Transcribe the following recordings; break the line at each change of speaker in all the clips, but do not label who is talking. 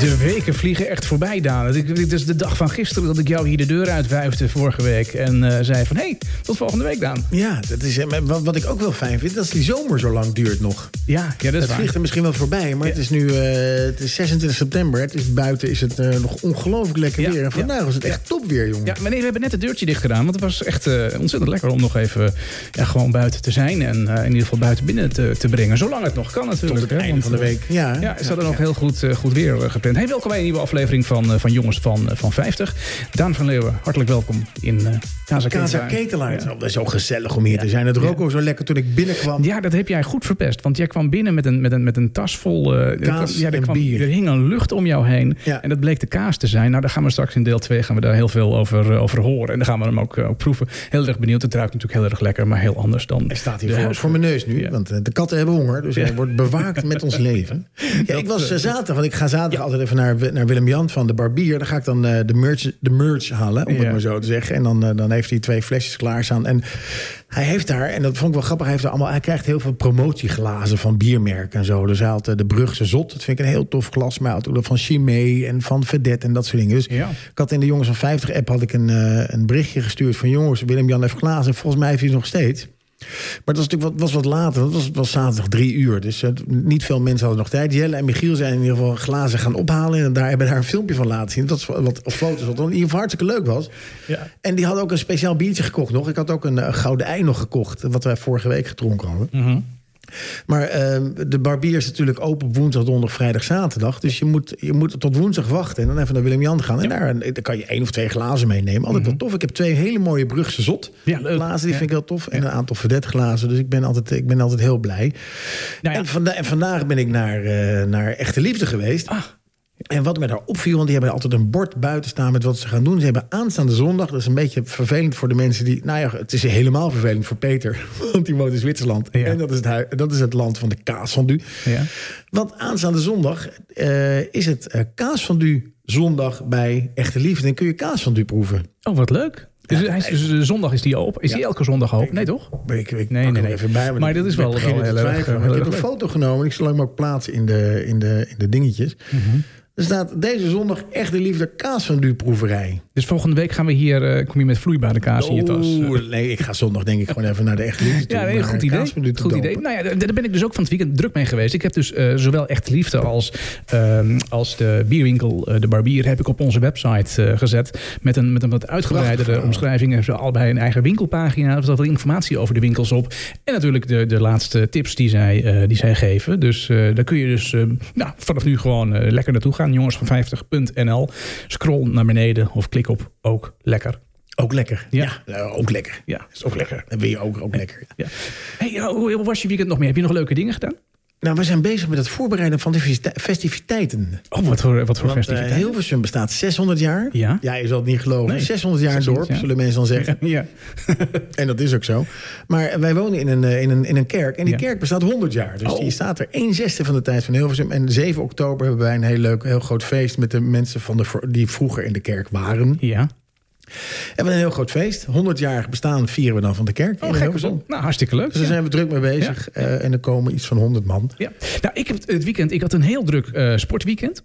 De weken vliegen echt voorbij, Daan. Het- Dit is de dag van gisteren dat ik jou hier de deur uitwuifde vorige week. En eh, zei van, hé, hey, tot volgende week, Daan.
Ja, dat is, eh, maar wat, wat ik ook wel fijn vind, dat is die zomer zo lang duurt nog.
Ja, ja dat is
Het
waar.
vliegt er misschien wel voorbij, maar het is nu eh, het is 26 september. Het is buiten is het eh, nog ongelooflijk lekker
Ja,
weer. En vandaag
ja.
was het echt top weer, jongen.
Ja, maar nee, we hebben net het deurtje dicht gedaan. Want het was echt eh, ontzettend lekker om nog even ja, gewoon buiten te zijn. En eh, in ieder geval buiten binnen te, te brengen. Zolang het nog kan natuurlijk.
Tot het
hè,
einde
want,
van de
eh,
week. Ja, hè?
Ja, ze hadden nog heel goed, eh, goed weer eh, gepland. Hey, welkom bij een nieuwe aflevering van, eh, van Jongens van, eh, van 50. Daan van Leeuwen, hartelijk welkom in eh Casa
Casa
Ketelaar.
Ketelaar.
Ja.
Het is altijd zo gezellig om hier te zijn. Het rook ook zo lekker toen ik binnenkwam.
Ja, dat heb jij goed verpest. Want jij kwam binnen met een, met een, met een tas vol... eh,
Kaas
er kwam- er,
en bier.
er hing een lucht om jou heen.
Ja.
En dat bleek de kaas te zijn. Nou, daar gaan we straks in deel 2 gaan we daar heel veel over, eh, over horen. En dan gaan we hem ook, eh, ook proeven. Heel erg benieuwd. Het ruikt natuurlijk heel erg lekker, maar heel anders dan...
Hij staat hier
de
voor,
huis-
voor mijn neus nu,
Ja.
want eh, de katten hebben honger. Dus hij wordt bewaakt met ons leven. Ja, ik was eh, zaterdag, want ik ga zaterdag altijd even naar, naar Willem-Jan van de barbier. Dan ga ik dan eh, de, merch, de merch halen, om
Ja.
het maar zo te zeggen. En dan, eh, dan heeft hij twee flesjes klaarstaan. En hij heeft daar, en dat vond ik wel grappig, hij, heeft daar allemaal, hij krijgt heel veel promotieglazen van biermerken en zo. Dus hij had eh, de Brugse Zot, dat vind ik een heel tof glas. Maar hij had ook dat van Chimay en van Vedette en dat soort dingen. Dus
Ja.
ik had in de Jongens van 50 app had ik een, eh, een berichtje gestuurd van jongens, Willem-Jan heeft glazen. Volgens mij heeft hij het nog steeds. Maar dat was natuurlijk wat, was wat later. Dat was, was zaterdag drie uur. Dus eh, niet veel mensen hadden nog tijd. Jelle en Michiel zijn in ieder geval glazen gaan ophalen. En daar hebben daar een filmpje van laten zien. Dat is wat, of foto's, wat in ieder geval hartstikke leuk was.
Ja.
En die hadden ook een speciaal biertje gekocht nog. Ik had ook een eh, gouden ei nog gekocht. Wat wij vorige week gedronken hadden. Maar eh, de barbier is natuurlijk open op woensdag, donderdag, vrijdag, zaterdag. Dus je moet, je moet tot woensdag wachten en dan even naar Willem-Jan gaan. En daar eh, dan kan je één of twee glazen meenemen. Altijd wel tof. Ik heb twee hele mooie Brugse zot
Mhm. Ja, leuk.
glazen. Die
Ja.
vind ik heel tof. En een aantal verdette glazen. Dus ik ben altijd, ik ben altijd heel blij.
Nou ja.
en, vanda- en vandaag ben ik naar, eh, naar Echte Liefde geweest.
Ah,
En wat me daar opviel, want die hebben altijd een bord buiten staan met wat ze gaan doen. Ze hebben aanstaande zondag, dat is een beetje vervelend voor de mensen die... Nou ja, het is helemaal vervelend voor Peter, want die woont in Zwitserland.
Ja.
En dat is, het, hui- dat is het land van de kaasfondue.
Ja.
Want aanstaande zondag eh, is het eh kaasfondue zondag bij Echte Liefde. En kun je kaasfondue proeven.
oh, wat leuk. Dus hij is, dus, eh, zondag is die open. Is die elke zondag open? Nee, toch?
Maar ik, ik
Nee,
pak
nee,
hem
nee.
even bij. want
Maar
ik-
dit is
ik
wel-
begin
wel
te
heel erg,
twijfelen.
eh,
Maar
heel
Ik heb
erg
een
leuk.
foto genomen. Ik zal hem ook plaatsen in de, in de, in de dingetjes.
Mhm.
Er staat deze zondag Echte Liefde kaasfondue proeverij.
Dus volgende week gaan we hier, eh, kom je met vloeibare kaas in je tas. eh,
Oeh, nee, ik ga zondag denk ik gewoon even naar de echte liefde toe.
Ja, nee,
maar
goed idee.
kaasmenu te
Goed
dopen.
idee. Nou ja, daar daar ben ik dus ook van het weekend druk mee geweest. Ik heb dus eh, zowel Echt Liefde als, ehm, als de bierwinkel eh, De Barbier... heb ik op onze website eh, gezet. Met een, met een wat uitgebreidere
Prachtig.
omschrijving. Hebben ze allebei een eigen winkelpagina. Er staat wat informatie over de winkels op. En natuurlijk de, de laatste tips die zij, eh, die zij geven. Dus eh, daar kun je dus eh, nou, vanaf nu gewoon eh, lekker naartoe gaan. Jongens van 50.nl. Scroll naar beneden of klik op ook lekker.
Ook lekker.
Ja.
Ja, nou, ook lekker.
Ja, is ook lekker.
Dan ben je ook, ook lekker.
Ja. Hey, hoe hoe was je weekend nog meer? Heb je nog leuke dingen gedaan?
Nou, we zijn bezig met het voorbereiden van de festi- festiviteiten.
Oh, wat voor, wat voor
Want eh,
festiviteit.
Hilversum bestaat 600 jaar.
Ja.
je zal het niet geloven.
Nee.
600 jaar
600
dorp,
jaar.
zullen mensen dan zeggen.
ja.
En dat is ook zo. Maar wij wonen in een, eh, in een, in een kerk. En die
Ja.
kerk bestaat 100 jaar. Dus
Oh.
die staat er 1 zesde van de tijd van Hilversum. En 7 oktober hebben wij een heel leuk, heel groot feest... met de mensen van de, vro- die vroeger in de kerk waren.
ja.
We hebben een heel groot feest. 100-jarig bestaan vieren we dan van de kerk.
Oh,
in
gek
Hilversum.
gezond. Nou, hartstikke leuk.
Dus daar
ja.
zijn we druk mee bezig. Eh, en er komen iets van 100 man.
Ja. Nou, ik heb het- het weekend, ik had een heel druk eh, sportweekend.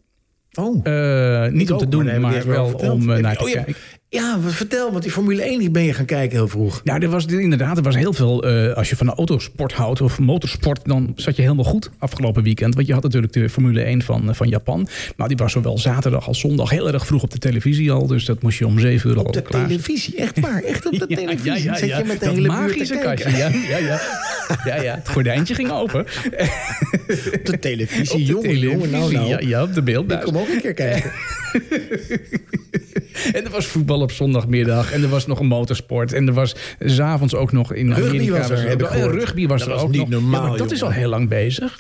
Oh,
Eh, niet om te doen, maar, wel om eh, naar te kijken.
Ja, wat- vertel, want die Formule 1 die ben je gaan kijken heel vroeg.
Nou, er was inderdaad, er was heel veel. eh, als je van de autosport houdt of motorsport, dan zat je helemaal goed afgelopen weekend. Want je had natuurlijk de Formule 1 van, eh, van Japan. Maar die was zowel zaterdag als zondag heel erg vroeg op de televisie al. Dus dat moest je om zeven uur al
Op de
klaar zijn.
televisie, echt waar. Echt op de
Ja,
televisie.
ja, ja,
Zit
ja.
je met de
dat
hele buurt te
magische
kijken.
kastje. Ja, ja, ja. ja, ja. Het gordijntje ging open.
Op de televisie,
Op de
jongen, jongen, nou,
televisie.
nou.
Ja, ja, op de
Ik
beeldbuis.
kom ook een keer kijken.
En er was voetbal op zondagmiddag. En er was nog een motorsport. En er was s'avonds ook nog in
Rugby
Amerika.
was er, heb ik
en
gehoord.
rugby was
Dat
er
was
ook
niet
nog. Ja,
normaal,
maar dat is al
jongen.
heel lang bezig.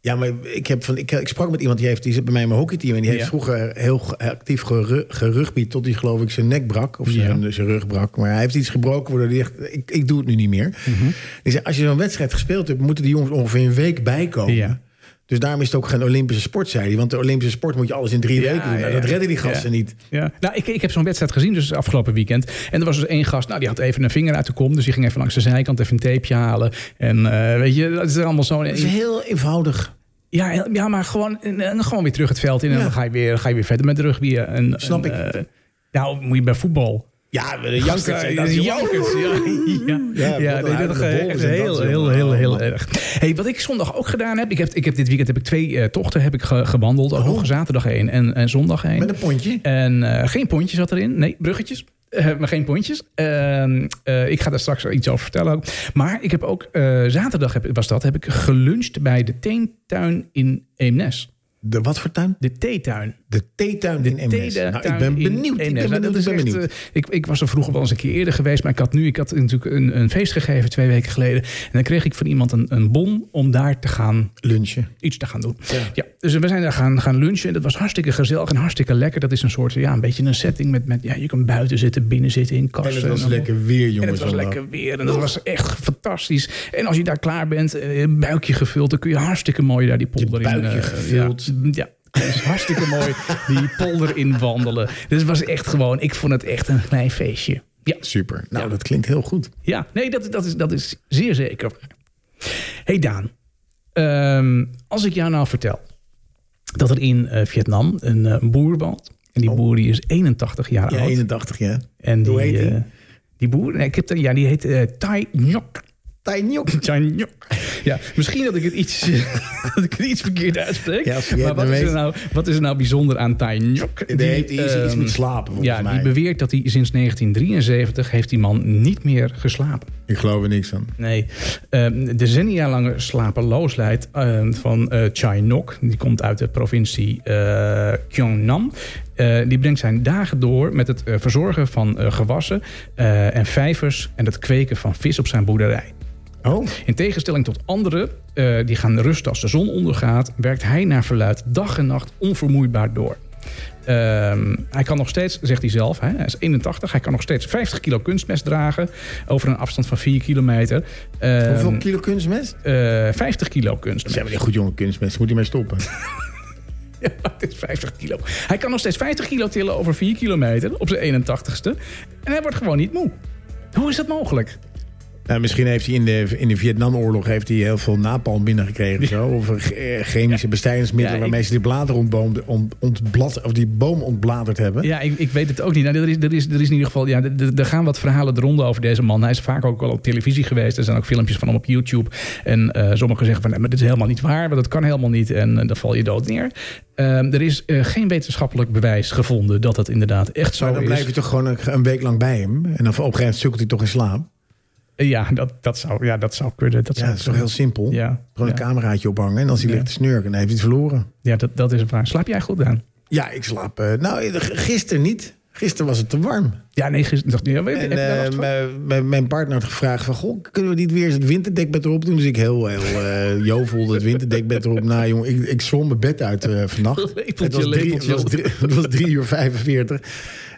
Ja, maar ik, heb van, ik, ik sprak met iemand die, heeft, die zit bij mij in mijn hockeyteam. En die heeft
Ja.
vroeger heel ge- actief geru- gerugbied. Tot hij, geloof ik, zijn nek brak. Of zijn, zijn rug brak. Maar hij heeft iets gebroken. Waardoor hij echt. Ik, ik doe het nu niet meer.
Mhm.
Die zei: Als je zo'n wedstrijd gespeeld hebt. moeten die jongens ongeveer een week bijkomen.
Ja.
Dus daarom is het ook geen Olympische sport, zei hij. Want de Olympische sport moet je alles in
Ja,
drie weken doen. Nou,
ja,
dat
ja.
redden die gasten
Ja.
niet.
Ja. Nou, ik, ik heb zo'n wedstrijd gezien, dus afgelopen weekend. En er was dus één gast, nou, die had even een vinger uit de kom. Dus die ging even langs de zijkant even een tapeje halen. En eh, weet je, dat is allemaal zo.
Het is heel eenvoudig.
Ja, ja maar gewoon, en- en gewoon weer terug het veld in. En
Ja.
dan ga je weer, ga je weer verder met rugby. En,
Snap
en,
ik.
eh, nou, moet je bij voetbal.
Ja, we
Gasten, eh, jankers, ja. Ja,
Ja,
ja
wat
nee,
een
dat
huilende
is
bol
echt
is
heel,
dat,
heel,
jongen.
heel, heel,
Oh, man.
erg. Hey, wat ik zondag ook gedaan heb, ik heb, ik heb dit weekend heb ik twee eh, tochten heb ik ge- gewandeld. Ook nog zaterdag één en, en zondag één.
Oh. Met een pontje.
En eh, geen pontjes zat erin. Nee, bruggetjes. Eh, maar geen pontjes. Ehm, eh, ik ga daar straks iets over vertellen ook. Maar ik heb ook, eh, zaterdag heb, was dat, heb ik geluncht bij de Teentuin in Eemnes.
De wat voor tuin?
De Theetuin.
De theetuin in Eemnes.
Tede-
Nou, ik
tuin
ben
in
benieuwd. Ik
Eemnes. Nou,
ben benieuwd.
dat is
Ik ben
echt,
benieuwd.
eh, ik, ik was er vroeger wel eens een keer eerder geweest, maar ik had nu, ik had natuurlijk een, een feest gegeven twee weken geleden. En dan kreeg ik van iemand een, een bon om daar te gaan
Lunchen.
iets te gaan doen. Ja.
Ja.
dus we zijn daar gaan, gaan lunchen en dat was hartstikke gezellig en hartstikke lekker. Dat is een soort, ja, een beetje een setting met, met ja, je kan buiten zitten, binnen zitten in kassen.
En het was
allemaal.
lekker weer, jongens.
En het was
allemaal.
lekker weer en dat was echt fantastisch. En als je daar klaar bent, eh, buikje gevuld, dan kun je hartstikke mooi daar die polder in.
buikje
eh,
gevuld.
Ja, ja. Het is hartstikke mooi die polder in wandelen. Dus het was echt gewoon, ik vond het echt een klein feestje. Ja,
Super. Nou,
Ja.
dat klinkt heel goed.
ja, nee, dat, dat, is, dat is zeer zeker. hey Daan, Ehm, als ik jou nou vertel dat er in eh, Vietnam een eh, boer woont. En die boer die is 81 jaar
Oh. Ja,
oud.
81, ja.
En die,
Hoe heet die?
eh, die boer, nee, ik heb, er- ja, die heet eh Tai Nhok.
Tijnjok.
Tai Nhok. Ja, misschien dat ik het iets, dat ik het iets verkeerd uitspreek.
Ja, als je
maar
het
wat
nou
is, er
weet.
nou, wat is er nou bijzonder aan Tai Nhok?
Die heeft iets, iets
ehm,
met slapen, volgens
ja,
mij.
die beweert dat hij sinds 1973 heeft die man niet meer geslapen.
Ik geloof er niks van.
Nee, Ehm decennia lange slapeloosheid ehm, van eh Chai Nok, die komt uit de provincie eh Gyeongnam. Eh, die brengt zijn dagen door met het eh, verzorgen van eh, gewassen eh, en vijvers en het kweken van vis op zijn boerderij.
Oh,
In tegenstelling tot anderen, eh, die gaan rusten als de zon ondergaat, werkt hij naar verluid dag en nacht onvermoeibaar door. Ehm, hij kan nog steeds, zegt hij zelf, hè, hij is 81, hij kan nog steeds 50 kilo kunstmest dragen over een afstand van 4 kilometer. Ehm,
hoeveel kilo kunstmest?
eh, 50 kilo
Ze
kunstmest.
hebben die goed jonge kunstmest. Moet je mee stoppen.
Ja, het is 50 kilo. Hij kan nog steeds 50 kilo tillen over 4 kilometer op zijn 81ste. En hij wordt gewoon niet moe. Hoe is dat mogelijk?
Nou, misschien heeft hij in de, in de Vietnamoorlog heeft hij heel veel napalm binnengekregen. of Zo, of eh, chemische bestrijdingsmiddelen
Ja, ik-
waarmee ze die bladeren ontboomd, ont, ontblad, of die boom ontbladerd hebben.
Ja, ik, ik weet het ook niet. Nou, er, is, er, is, er is in ieder geval. Ja, er- er, er gaan wat verhalen de ronde over deze man. Hij is vaak ook al op televisie geweest. Er zijn ook filmpjes van hem op YouTube. En eh, sommigen zeggen van nee, maar dit is helemaal niet waar. Want dat kan helemaal niet. En eh, dan val je dood neer. Ehm, er is eh, geen wetenschappelijk bewijs gevonden dat dat inderdaad echt zo
maar dan
is.
blijf je toch gewoon een, een week lang bij hem. En dan op een gegeven moment sukkelt hij toch in slaap.
Eh, Ja, dat, dat zou, ja, dat zou kunnen. Dat
Ja,
zou
dat is toch heel simpel.
Ja,
Gewoon een
ja.
cameraatje ophangen. En als hij
Ja.
ligt te snurken, dan heeft hij het verloren.
ja dat, dat is waar. Slaap jij goed aan?
Ja, ik slaap. eh, nou, g- gisteren niet. Gisteren was het te warm.
Ja, nee, gisteren. Ja, weet,
En
heb je daar
eh,
last van?
mijn- mijn- mijn partner had gevraagd van... Goh, kunnen we niet weer eens het winterdekbed erop doen? Dus ik heel, heel eh jovel het winterdekbed erop. Nou jongen, ik, ik zwom mijn bed uit eh, vannacht.
Lepeltje,
het, was drie, het,
lepeltje.
was drie, het was drie uur 45.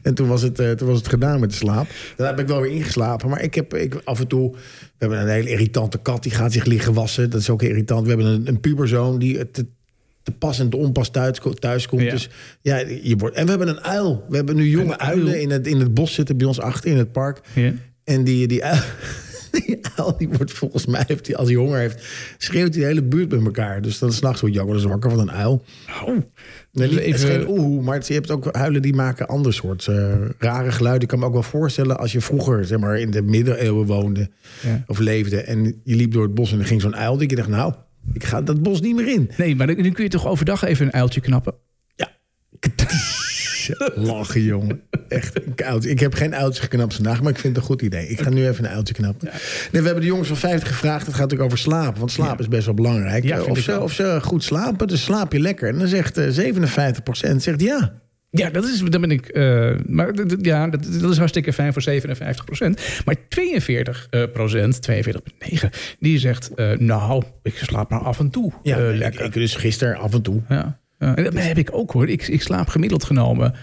En toen was, het, eh, toen was het gedaan met de slaap. Daarna heb ik wel weer ingeslapen. Maar ik heb ik, af en toe... We hebben een hele irritante kat, die gaat zich liggen wassen. Dat is ook irritant. We hebben een, een puberzoon die... het te- te pas en te onpas thuis, thuis komt.
Ja.
Dus ja, je wordt. En we hebben een uil. We hebben nu jonge
Een uil.
uilen in het, in het bos zitten bij ons achter in het park.
Ja.
En die, die, uil, die uil, die wordt volgens mij, heeft die, als hij honger heeft, schreeuwt hij de hele buurt bij elkaar. Dus dan s'nachts wordt Jan wel eens wakker van een uil.
Oh.
Nee,
Dus
Het is
even-
geen oehoe, maar het- je hebt ook huilen die maken ander soort eh, rare geluiden. Ik kan me ook wel voorstellen als je vroeger zeg maar, in de middeleeuwen woonde
Ja.
of leefde. En je liep door het bos en er ging zo'n uil. Dat je dacht, nou, ik ga dat bos niet meer in.
Nee, maar dan, dan kun je toch overdag even een uiltje knappen?
Ja. Lachen, jongen. Echt koud. Ik heb geen uiltje geknapt vandaag, maar ik vind het een goed idee. Ik ga nu even een uiltje knappen. Nee, we hebben de jongens van 50 gevraagd. Het gaat natuurlijk over slapen, want slaap is best wel belangrijk.
Ja,
Eh,
vind
of,
ik
ze,
ook.
of ze goed slapen, dus slaap je lekker. En dan zegt eh, 57% zegt ja.
Ja, dat is, dan ben ik. eh, maar d- d- ja, dat, dat is hartstikke fijn voor 57 Maar 42 eh, procent, 42,9, die zegt: eh, Nou, ik slaap maar af en toe.
Ja,
eh,
ik-
lekker.
Ik, dus gisteren af en toe.
ja, ja. En dat heb ik ook hoor. Ik, ik slaap gemiddeld genomen.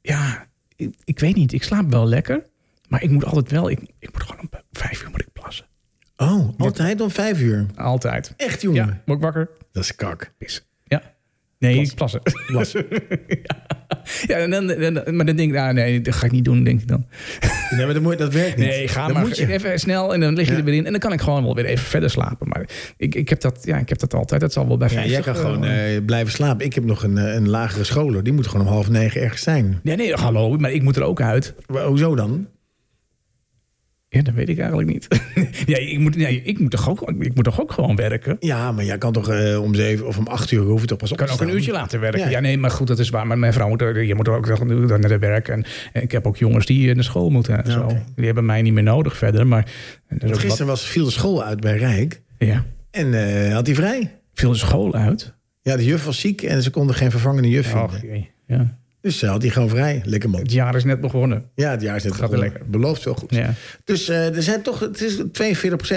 Ja, ik, ik weet niet. Ik slaap wel lekker. Maar ik moet altijd wel. Ik, ik moet gewoon om vijf uur moet ik plassen.
Oh, altijd om vijf uur.
Altijd.
Echt, jongen.
Ja, word ik wakker.
Dat is kak.
Pissen. Ja. Nee, ik plassen.
Was-
Ja, en dan, dan- maar dan denk ik, ah, nee, dat ga ik niet doen, denk ik dan.
Nee, maar dat, moet, dat werkt niet.
Nee, ga
Dat
maar
moet je.
even snel en dan lig je
Ja.
er weer in. En dan kan ik gewoon wel weer even verder slapen. Maar ik, ik, heb, dat, ja, ik heb dat altijd. Dat zal wel bij
Ja,
50.
jij kan
eh,
gewoon eh, blijven slapen. Ik heb nog een, eh, een lagere scholer. Die moet gewoon om half negen ergens zijn.
Nee, nee, hallo, maar ik moet er ook uit.
Maar hoezo dan?
Ja, dat weet ik eigenlijk niet. ja, ik moet, nee, ik, moet toch ook, ik moet toch ook gewoon werken?
Ja, maar jij kan toch eh, om zeven of om acht uur hoef je toch pas op
Ik kan
te
ook een
staan?
uurtje later werken. Ja.
Ja.
nee, maar goed, dat is waar. Maar mijn vrouw moet, er- je moet er ook nog naar de werk. En, en ik heb ook jongens die eh, naar school moeten en zo.
oké.
Die hebben mij niet meer nodig verder. Maar en dat is
Want
ook wat-
gisteren was, viel de school uit bij Rijk.
ja,
En eh, had hij vrij.
viel de school uit.
Ja, de juf was ziek en ze konden geen vervangende juf
Och,
vinden.
jee. ja.
Dus ze had hij gewoon vrij. Lekker man.
Het jaar is net begonnen.
Ja, het jaar is net
Gaat weer
begonnen.
lekker.
Belooft wel goed.
Ja.
Dus eh, er zijn toch, het is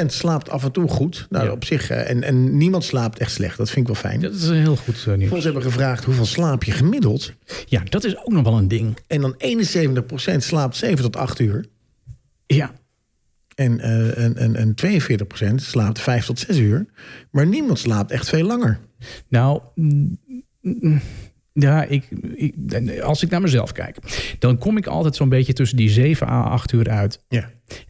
42% slaapt af en toe goed. Nou,
Ja.
op zich. eh, en, en niemand slaapt echt slecht. Dat vind ik wel fijn.
Dat is heel goed eh, nieuws.
Ons hebben gevraagd hoeveel slaap je gemiddeld.
Ja, dat is ook nog wel een ding.
En dan 71% slaapt 7 tot 8 uur.
Ja,
En, eh, en, en, en 42% slaapt 5 tot 6 uur. Maar niemand slaapt echt veel langer.
Nou, mm, mm, ja, ik, ik, als ik naar mezelf kijk, dan kom ik altijd zo'n beetje tussen die 7 à 8 uur uit.
Ja.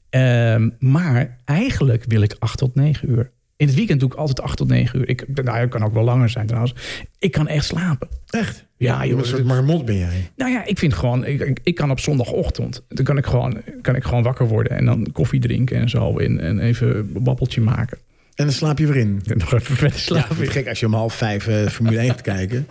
Ehm, maar eigenlijk wil ik 8 tot 9 uur. In het weekend doe ik altijd 8 tot 9 uur. Ik, nou, het kan ook wel langer zijn trouwens. Ik kan echt slapen.
Echt?
Ja,
Een soort
joh.
marmot ben jij.
Nou ja, ik vind gewoon, ik, ik- ik kan op zondagochtend, dan kan ik, gewoon, kan ik gewoon wakker worden en dan koffie drinken en zo. En, en even een babbeltje maken.
En dan slaap je weer in.
En nog even verder
Ja,
slapen.
vind ik gek als je om half vijf eh, Formule 1 gaat kijken.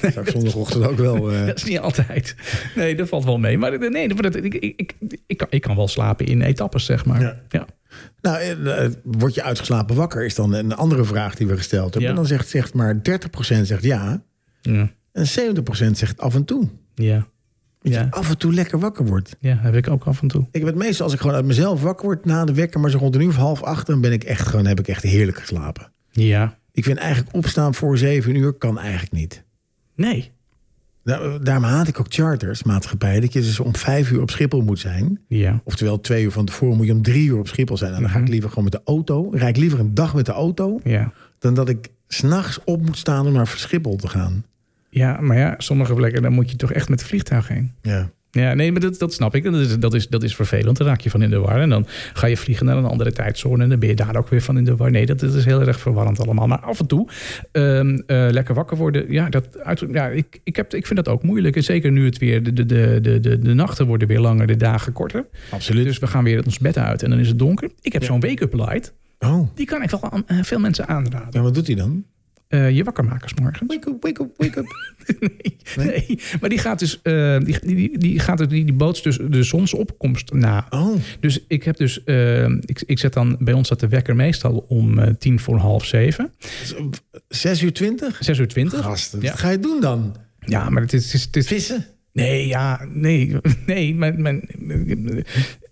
Dat zou ik zondagochtend ook wel... eh,
Dat is niet altijd. Nee, dat valt wel mee. Maar eh, nee, maar dat, ik, ik, ik, ik, kan, ik kan wel slapen in etappes, zeg maar. Ja.
Ja. Nou, eh, eh, word je uitgeslapen wakker is dan een andere vraag die we gesteld hebben.
Ja.
En dan zegt, zegt maar 30% zegt ja.
Ja.
En 70% zegt af en toe.
Ja.
Dat
Ja.
je af en toe lekker wakker wordt.
ja, heb ik ook af en toe.
Ik heb het meestal als ik gewoon uit mezelf wakker word na de wekker, maar zo rond een uur of half acht, dan ben ik echt gewoon, heb ik echt heerlijk geslapen.
Ja.
Ik vind eigenlijk opstaan voor zeven uur kan eigenlijk niet.
Nee.
Nou, eh, daarom haat ik ook charters, maatschappij, dat je dus om vijf uur op Schiphol moet zijn.
Ja.
Oftewel twee uur van tevoren moet je om drie uur op Schiphol zijn. En dan ga ik liever gewoon met de auto. Rijd ik liever een dag met de auto
Ja.
dan dat ik s'nachts op moet staan om naar Schiphol te gaan.
Ja, maar ja, sommige plekken, daar moet je toch echt met het vliegtuig heen.
Ja.
Ja, nee, maar dat, dat snap ik. Dat is, dat, is, dat is vervelend. Dan raak je van in de war. En dan ga je vliegen naar een andere tijdzone. En dan ben je daar ook weer van in de war. Nee, dat, dat is heel erg verwarrend allemaal. Maar af en toe ehm, eh, lekker wakker worden. Ja, dat uit, ja ik, ik, heb, ik vind dat ook moeilijk. En zeker nu het weer. De, de, de, de, de, de nachten worden weer langer, de dagen korter.
Absoluut.
Dus we gaan weer ons bed uit en dan is het donker. Ik heb zo'n wake-up light.
Oh,
Die kan ik wel aan eh, veel mensen aanraden.
en wat doet hij dan?
Eh, je wakker maken 's morgens.
Wake up, wake up, wake up.
Nee, nee. maar die gaat dus, eh, die, die, die, gaat, het- die, die bootst dus de zonsopkomst na.
Oh,
Dus ik heb dus, eh, ik, ik zet dan, bij ons zat de wekker meestal om eh, tien voor half zeven,
zes uur twintig?
zes uur twintig.
Gasten,
Ja.
wat ga je doen dan?
Ja, maar het is, het is, het is-
Vissen?
nee, ja, nee, nee, mijn, mijn,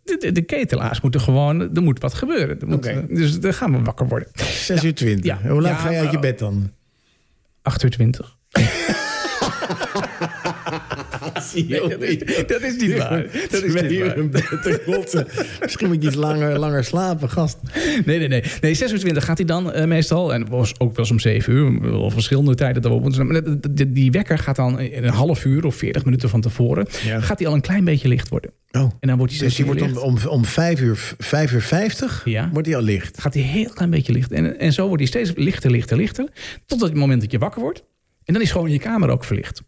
de, de, de ketelaars moeten gewoon, er moet wat gebeuren. Er moet,
Oké.
Dus dan gaan we wakker worden.
6 uur 20.
Ja.
Hoe laat
Ja,
ga je uit je
maar-
bed dan?
8 uur 20.
Nee,
dat, is, dat is niet waar. Dat is niet waar.
te rotsen. Misschien moet je iets langer, langer slapen, gast.
Nee, nee, nee. Nee, 26 gaat hij dan eh, meestal. En was ook wel eens om 7 uur. Of verschillende tijden. Dat we op ons, maar dat- dat- die, wekker gaat dan in een half uur of 40 minuten van tevoren.
Ja.
Gaat hij al een klein beetje licht worden.
Oh.
En dan wordt hij
Dus die
steeds
wordt
meer
om, om, om 5 uur, 5 uur 50
Ja.
wordt die al licht.
gaat hij een heel klein beetje licht. En, en zo wordt hij steeds lichter, lichter, lichter. Tot het moment dat je wakker wordt. En dan is gewoon je kamer ook verlicht.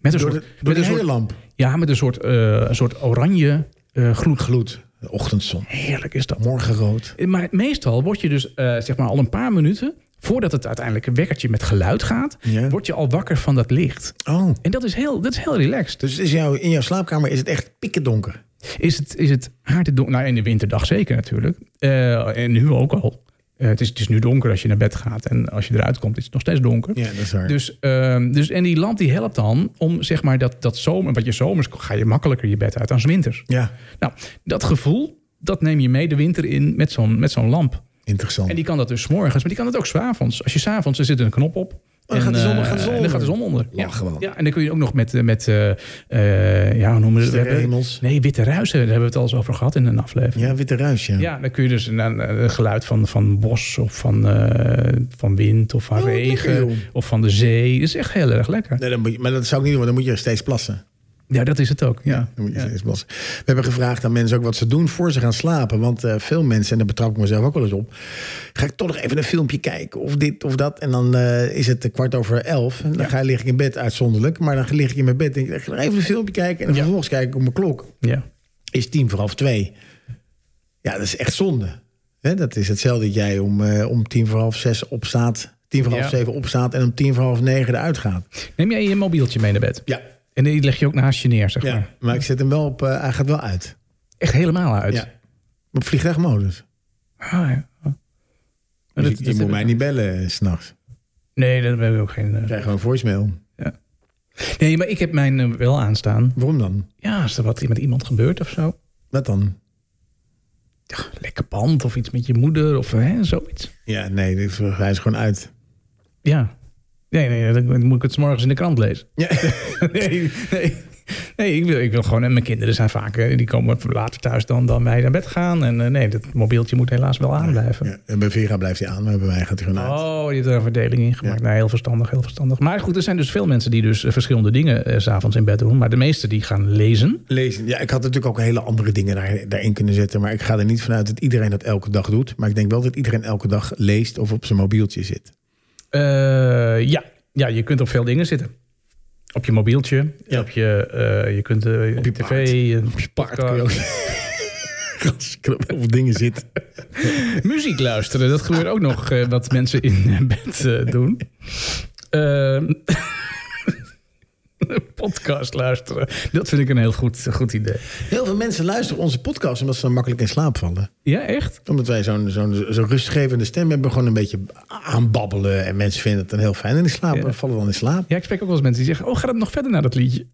Met een
Door de,
soort,
door
met
de
een
hele
soort,
lamp.
ja, met een soort, eh, een soort oranje eh, gloed.
Gloed. De ochtendzon.
Heerlijk is dat.
Morgenrood.
Maar meestal word je dus eh, zeg maar al een paar minuten... voordat het uiteindelijk een wekkertje met geluid gaat...
Ja.
word je al wakker van dat licht.
Oh.
En dat is heel, dat is heel relaxed.
Dus het is jouw- in jouw slaapkamer is het echt pikkendonker.
Is het, is het donker? Nou, in de winterdag zeker natuurlijk. Eh, en nu ook al. Eh, het, is, het is nu donker als je naar bed gaat. En als je eruit komt is het nog steeds donker.
Ja, dat is waar.
Dus, ehm, dus, en die lamp die helpt dan om zeg maar dat, dat zomer... want je zomers ga je makkelijker je bed uit dan 's winters.
ja,
Nou, dat gevoel, dat neem je mee de winter in met zo'n met zo'n lamp.
interessant.
En die kan dat dus 's morgens, maar die kan dat ook 's avonds. Als je 's avonds er zit een knop op.
dan gaat de zon-
eh,
gaat de zon
en dan gaat de
onder.
zon onder. Ja.
Lachen wel.
ja, en dan kun je ook nog met, eh, met eh, eh, ja, hoe noemen ze
Sterrenhemels.
het? Nee, witte ruisen, daar hebben we het al eens over gehad in een aflevering.
Ja, witte ruis, ja.
Ja, dan kun je dus een, een- een geluid van, van bos of van, eh, van wind of van
Oh, wat lekker,
regen
joh.
of van de zee. Dat is echt heel erg lekker.
Nee, dan moet je, maar dat zou ik niet doen, want dan moet je steeds plassen.
Ja, dat is het ook. Ja.
Dan moet je ze eens plassen. We hebben gevraagd aan mensen ook wat ze doen voor ze gaan slapen. Want eh, veel mensen, en daar betrap ik mezelf ook wel eens op... ga ik toch nog even een filmpje kijken of dit of dat. En dan eh, is het eh, kwart over elf. En dan ga, lig ik in bed uitzonderlijk. Maar dan lig ik in mijn bed en denk ik... ga nog even een filmpje kijken. En dan vervolgens kijk ik op mijn klok.
ja.
Is tien voor half twee. Ja, dat is echt zonde. Hè, dat is hetzelfde dat jij om, eh, om tien voor half zes opstaat... tien voor half
Ja.
zeven opstaat en om tien voor half negen eruit gaat.
Neem jij je mobieltje mee naar bed?
Ja,
En die leg je ook naast je neer, zeg maar.
ja. maar ik zet hem wel op... eh, hij gaat wel uit.
Echt helemaal uit.
Ja. Op vliegtuigmodus.
Ah, ja. Ah. Maar
Dus
dat-
ik- Dus je
dat-
moet mij niet bellen eh, s'nachts. Ik
Nee, daar hebben we ook geen... eh,
krijg gewoon voicemail.
Nee, maar ik heb mijn eh, wel aanstaan.
Waarom dan?
Ja, als er wat met iemand gebeurt of zo.
Wat dan?
Ja, lekker band of iets met je moeder of hè, zoiets.
Ja, nee, dit is- hij is gewoon uit.
Ja. Nee, nee, dan moet ik het 's morgens in de krant lezen.
Ja.
nee, nee. Nee, ik wil, ik wil gewoon... En mijn kinderen zijn vaak... eh, Die komen later thuis dan, dan wij naar bed gaan. En eh, nee, dat mobieltje moet helaas wel aanblijven.
Ja, en bij Vera blijft hij aan, maar bij mij gaat hij gewoon uit.
Oh, je hebt er een verdeling in gemaakt. Nou, heel verstandig, heel verstandig. Maar goed, er zijn dus veel mensen die dus eh, verschillende dingen eh, s s'avonds in bed doen. Maar de meesten die gaan lezen.
Lezen. Ja, ik had natuurlijk ook hele andere dingen daar, daarin kunnen zetten. Maar ik ga er niet vanuit dat iedereen dat elke dag doet. Maar ik denk wel dat iedereen elke dag leest of op zijn mobieltje zit.
Eh, ja. ja, je kunt op veel dingen zitten. Op je mobieltje,
Ja.
op je, eh, je kunt eh,
Op je
tv,
paard.
eh,
Op je paard kun je ook... Als ik er op heel veel dingen zit.
muziek luisteren. Dat gebeurt ook nog eh, wat mensen in bed eh, doen. Ehm, podcast luisteren. Dat vind ik een heel goed, goed idee.
Heel veel mensen luisteren onze podcast omdat ze dan makkelijk in slaap vallen.
Ja, echt?
Omdat wij zo'n zo'n zo'n rustgevende stem hebben, gewoon een beetje aanbabbelen. En mensen vinden het dan heel fijn. En die slapen,
Ja.
vallen dan in slaap.
Ja, ik spreek ook wel eens mensen die zeggen... oh, gaat het nog verder naar dat liedje?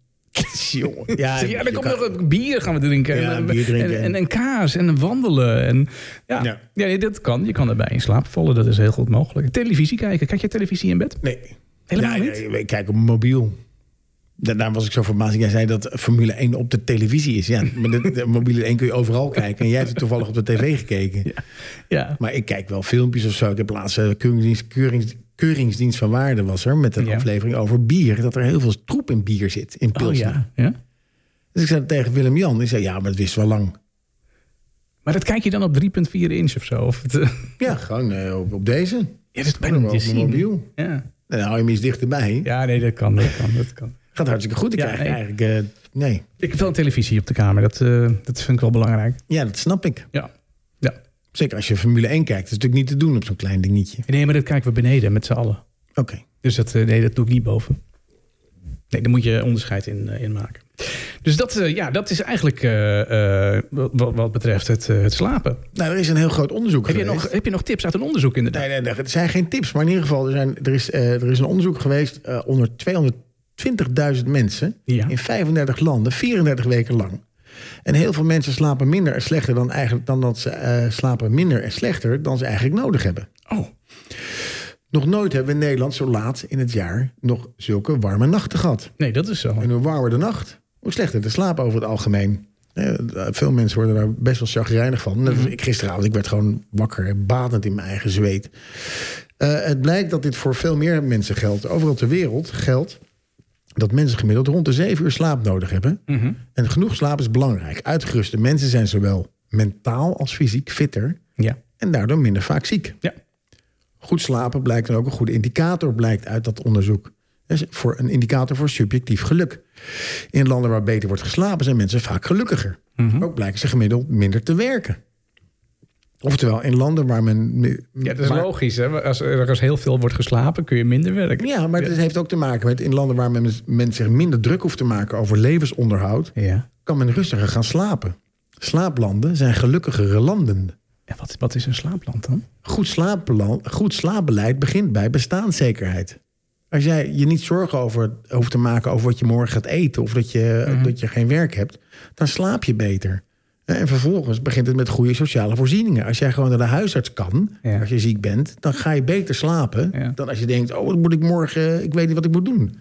Jongen. Ja,
Zeg, ja,
je
dan komt
kan-
nog een bier gaan we drinken.
Ja,
en,
bier drinken.
En, en, en kaas en wandelen. En, ja,
Ja.
ja. dat kan. Je kan erbij in slaap vallen. Dat is heel goed mogelijk. Televisie kijken. Kijk je televisie in bed?
Nee.
Helemaal
ja,
niet?
ja, Ik kijk op mijn mobiel. Daarna was ik zo verbaasd. Jij zei dat Formule 1 op de televisie is. Ja, maar de, de Formule 1 kun je overal kijken. En jij hebt het toevallig op de tv gekeken.
Ja.
Maar ik kijk wel filmpjes of zo. Ik heb laatst eh, keuringsdienst, keurings- keuringsdienst van waarde was er... met een
Ja.
aflevering over bier. Dat er heel veel troep in bier zit, in
Oh
pilsner.
ja. ja.
Dus ik zei tegen Willem-Jan. Die zei, ja, maar dat wist wel lang.
Maar dat kijk je dan op 3,4 inch of zo? Of het, eh,
Ja, gewoon eh, op, op deze.
ja, dat is bijna niet te
Op mijn
zien.
mobiel.
Ja.
En dan hou je hem iets dichterbij.
ja, nee, dat kan. Dat kan, dat kan.
Gaat hartstikke goed. Ik
Ja,
krijg
nee.
eigenlijk... eh, nee.
Ik heb wel een televisie op de kamer. Dat, eh, dat vind ik wel belangrijk.
Ja, dat snap ik.
Ja. ja.
Zeker als je Formule 1 kijkt. Dat is natuurlijk niet te doen op zo'n klein dingetje.
Nee, maar dat kijken we beneden met z'n allen.
Oké.
Dus dat, eh, nee, dat doe ik niet boven. Nee, daar moet je onderscheid in, eh, in maken. Dus dat, eh, ja, dat is eigenlijk eh, eh, wat, wat betreft het, eh, het slapen.
Nou, er is een heel groot onderzoek
Heb je,
geweest.
nog, heb je nog tips uit een onderzoek inderdaad?
Nee, nee, nee, het zijn geen tips. Maar in ieder geval, er, zijn, er, is, eh, er is een onderzoek geweest... eh, onder 220.000 mensen
Ja.
in 35 landen, 34 weken lang. En heel veel mensen slapen minder en slechter dan, eigenlijk, dan dat ze eh, slapen minder en slechter dan ze eigenlijk nodig hebben.
Oh,
Nog nooit hebben we in Nederland zo laat in het jaar nog zulke warme nachten gehad.
nee, dat is zo.
En hoe warmer de nacht, hoe slechter de slaap over het algemeen. Eh, Veel mensen worden daar best wel chagrijnig van. Net als ik gisteravond, ik werd gewoon wakker en badend in mijn eigen zweet. Eh, het blijkt dat dit voor veel meer mensen geldt. Overal ter wereld geldt dat mensen gemiddeld rond de zeven uur slaap nodig hebben.
Mhm.
En genoeg slaap is belangrijk. Uitgeruste mensen zijn zowel mentaal als fysiek fitter
Ja.
en daardoor minder vaak ziek.
ja.
Goed slapen blijkt dan ook een goede indicator, blijkt uit dat onderzoek. Dat is voor een indicator voor subjectief geluk. In landen waar beter wordt geslapen zijn mensen vaak gelukkiger.
Mhm.
Ook blijken ze gemiddeld minder te werken. Oftewel, in landen waar men...
Ja, dat is
waar-
logisch. Hè? Als er ergens heel veel wordt geslapen, kun je minder werken.
Ja, maar dit heeft ook te maken met in landen waar men, men zich minder druk hoeft te maken over levensonderhoud,
Ja.
kan men rustiger gaan slapen. Slaaplanden zijn gelukkigere landen.
En wat, wat is een slaapland dan?
Goed, slaapplan, goed slaapbeleid begint bij bestaanszekerheid. Als jij je niet zorgen over, hoeft te maken over wat je morgen gaat eten... of dat je,
Mhm.
dat je geen werk hebt, dan slaap je beter. En vervolgens begint het met goede sociale voorzieningen. Als jij gewoon naar de huisarts kan,
Ja.
als je ziek bent... dan ga je beter slapen
Ja.
dan als je denkt... oh, wat moet ik morgen, ik weet niet wat ik moet doen.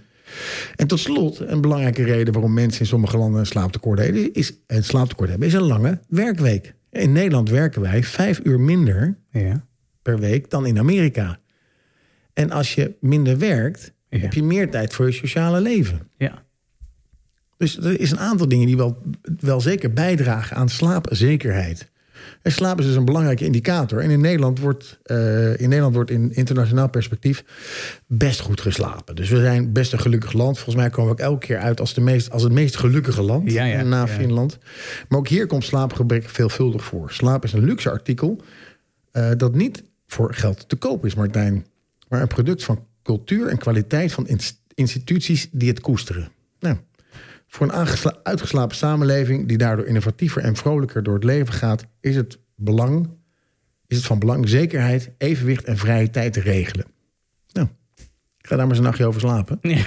En tot slot, een belangrijke reden waarom mensen in sommige landen een slaaptekort hebben... is, een slaaptekort hebben, is een lange werkweek. In Nederland werken wij vijf uur minder
Ja.
per week dan in Amerika. En als je minder werkt,
Ja.
heb je meer tijd voor je sociale leven.
Ja.
Dus er is een aantal dingen die wel, wel zeker bijdragen aan slaapzekerheid. En slaap is dus een belangrijke indicator. En in Nederland wordt, eh, in, Nederland wordt in internationaal perspectief best goed geslapen. Dus we zijn best een gelukkig land. Volgens mij komen we ook elke keer uit als, de meest, als het meest gelukkige land
Ja, ja,
na
ja.
Finland. Maar ook hier komt slaapgebrek veelvuldig voor. Slaap is een luxe artikel eh, dat niet voor geld te koop is, Martijn. Maar een product van cultuur en kwaliteit van inst- instituties die het koesteren. Nou, voor een aangesla- uitgeslapen samenleving die daardoor innovatiever en vrolijker door het leven gaat, is het, belang, is het van belang zekerheid, evenwicht en vrije tijd te regelen. Nou, ik ga daar maar eens een nachtje over slapen.
Nee,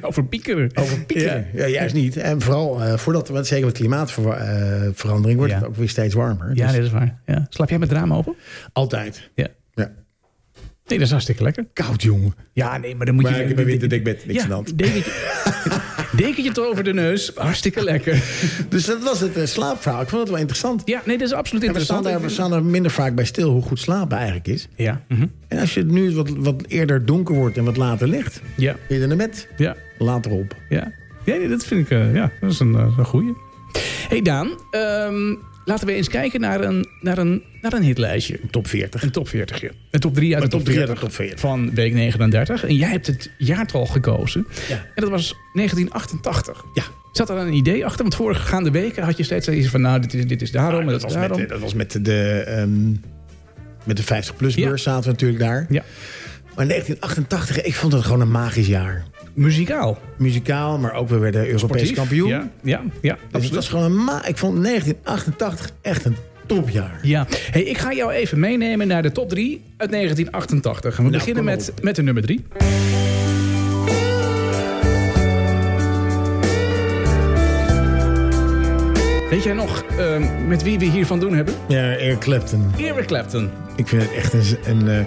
Over piekeren.
Over piekeren. Ja. juist niet. En vooral eh, voordat, want zeker met klimaatverandering, wordt
Ja.
het ook weer steeds warmer.
Ja,
Dus
dat is waar. Ja. Slaap jij met het raam open?
Altijd.
Ja.
Ja.
Nee, dat is hartstikke lekker.
Koud, jongen.
Ja, nee, maar dan moet
Maar
je...
ik heb een winterdek bed, niks
ja,
aan de hand.
Dekentje, dekentje tot over de neus. Hartstikke lekker.
Dus dat was het eh, slaapverhaal. Ik vond het wel interessant.
Ja, nee, dat is absoluut
En we staan,
interessant.
daar, we staan er minder vaak bij stil hoe goed slapen eigenlijk is.
Ja. mhm.
En als je het nu wat, wat eerder donker wordt en wat later ligt,
ja,
ben je er naar bed,
ja,
later op.
ja. Ja, nee, dat vind ik... eh, ja, dat is een, eh, een goeie. hey Daan, ehm, laten we eens kijken naar een, naar een, naar een hitlijstje.
Top 40.
Een top 40. ja. Een top 3 uit de
Maar
top,
top drie
40,
uit de top 40.
van week 39. En jij hebt het jaartal gekozen.
Ja.
En dat was 1988.
Ja.
Zat er een idee achter? Want vorige gaande weken had je steeds iets van... nou, dit is, dit is daarom en
dat,
dat,
was
is daarom.
met, dat was met de, ehm, met de 50-plus-beurs zaten we natuurlijk daar.
Ja.
Maar in 1988, ik vond het gewoon een magisch jaar.
Muzikaal.
Muzikaal, maar ook we werden Europees
Sportief.
kampioen.
Ja, ja, ja
Dus het
absoluut.
was gewoon een ma ik vond 1988 echt een topjaar.
Ja, hey, ik ga jou even meenemen naar de top 3 uit 1988. En we
Nou,
beginnen
kom
met,
op.
met de nummer 3. Weet jij nog ehm, met wie we hier van doen hebben?
Ja, Eric Clapton.
Eric Clapton.
Ik vind het echt een... z- een eh,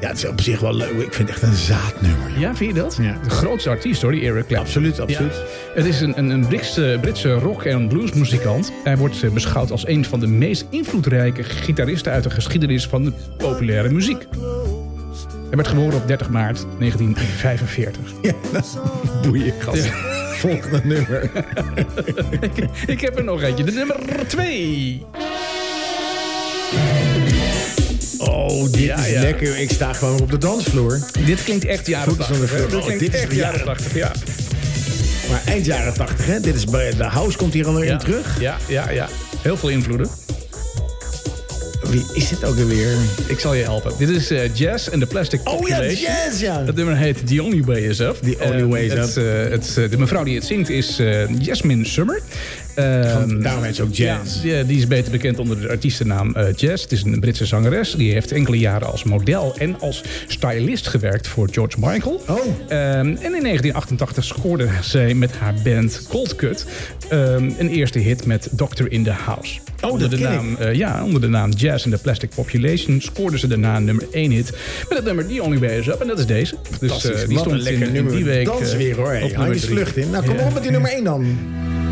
ja, het is op zich wel leuk. Ik vind het echt een zaadnummer.
Ja, vind je dat?
Ja.
De grootste artiest hoor, die Eric Clapton.
Absoluut, absoluut.
Ja. Het is een, een, een Britse, Britse rock- en bluesmuzikant. Hij wordt eh, beschouwd als een van de meest invloedrijke gitaristen uit de geschiedenis van de populaire muziek. Hij werd geboren op 30 maart 1945.
Ja, nou, boeien, gast. Volgende nummer.
Ik heb er nog eentje, de nummer 2.
Oh, dit
Ja,
is
ja.
lekker. Ik sta gewoon op de dansvloer.
Dit klinkt echt jaren
Goed, dat is
80.
nog
hè?
een-
Dit
oh,
klinkt
dit is
echt
de
jaren
jaren-
80, ja.
Maar eind jaren 80, hè? Dit is bij de house komt hier alweer
ja.
in terug.
Ja, ja, ja. Heel veel invloeden.
Wie is dit ook alweer?
Ik zal je helpen. Dit is eh, Jazz en de Plastic
Oh ja,
Population.
jazz, ja.
Dat nummer heet The Only Way Is Up.
The Only
Eh,
Way Is
het,
Up.
eh, het, eh, de mevrouw die het zingt is eh Jasmine Summer. Ehm,
Daarom heet ze ook
ja,
jazz.
die- die is beter bekend onder de artiestennaam eh, Jazz. Het is een Britse zangeres. Die heeft enkele jaren als model en als stylist gewerkt voor George Michael.
Oh.
Ehm, en in 1988 scoorde zij met haar band Cold Cut ehm, een eerste hit met Doctor in the House.
Oh, dat
onder de
ken ik.
naam eh, ja, onder de naam Jazz and the Plastic Population scoorden ze daarna een nummer 1 hit. Met het nummer The Only Way Is Up. En dat is deze. Dus
Fantastisch.
eh, die
Wat een
stond in,
lekker
in
nummer.
die week.
Dans
eh,
weer hoor. Hey, hang
nummer
je
drie.
vlucht in. Nou, kom
Ja.
op met die nummer 1 dan.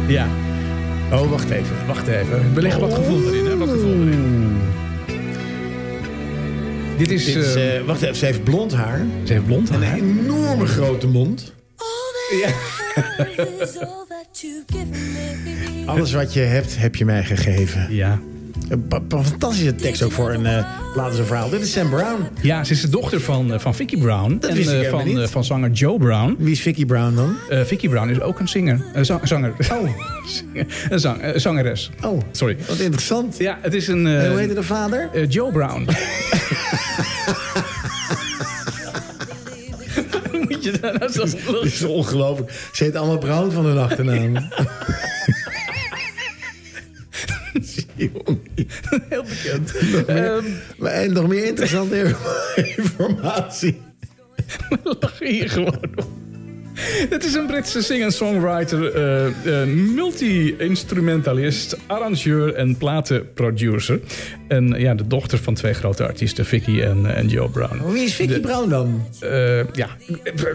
Ja,
Oh, wacht even.
wacht even. We leggen wat gevoel erin. Hè? Wat gevoel erin. Dit is...
Dit is,
eh,
eh, wacht even, ze heeft blond haar.
ze heeft blond haar.
Een enorme grote mond. Alles wat je hebt, heb je mij gegeven. Eh,
Ja.
Een pa- pa- fantastische tekst ook voor een eh laten ze verhaal. Dit is Sam Brown.
ja, ze is de dochter van, eh, van Vicky Brown. en
wist ik
eh,
helemaal
van,
niet.
eh, van zanger Joe Brown.
Wie is Vicky Brown dan?
Eh Vicky Brown is ook een zinger. Eh, za- zanger.
Oh.
een zang, eh, zangeres.
Oh,
Sorry.
wat interessant.
Ja, het is een... eh,
En hoe heette de vader?
eh, Joe Brown. Moet je daar nou zo
Dat is ongelooflijk. Ze heet allemaal Brown van hun achternaam.
heel bekend.
Maar- en nog meer interessante informatie.
lach hier gewoon om. Het is een Britse singer-songwriter, eh, eh, multi-instrumentalist, arrangeur en platenproducer. En eh, ja, de dochter van twee grote artiesten, Vicky en, en Joe Brown.
Wie is Vicky Brown dan?
Eh, ja,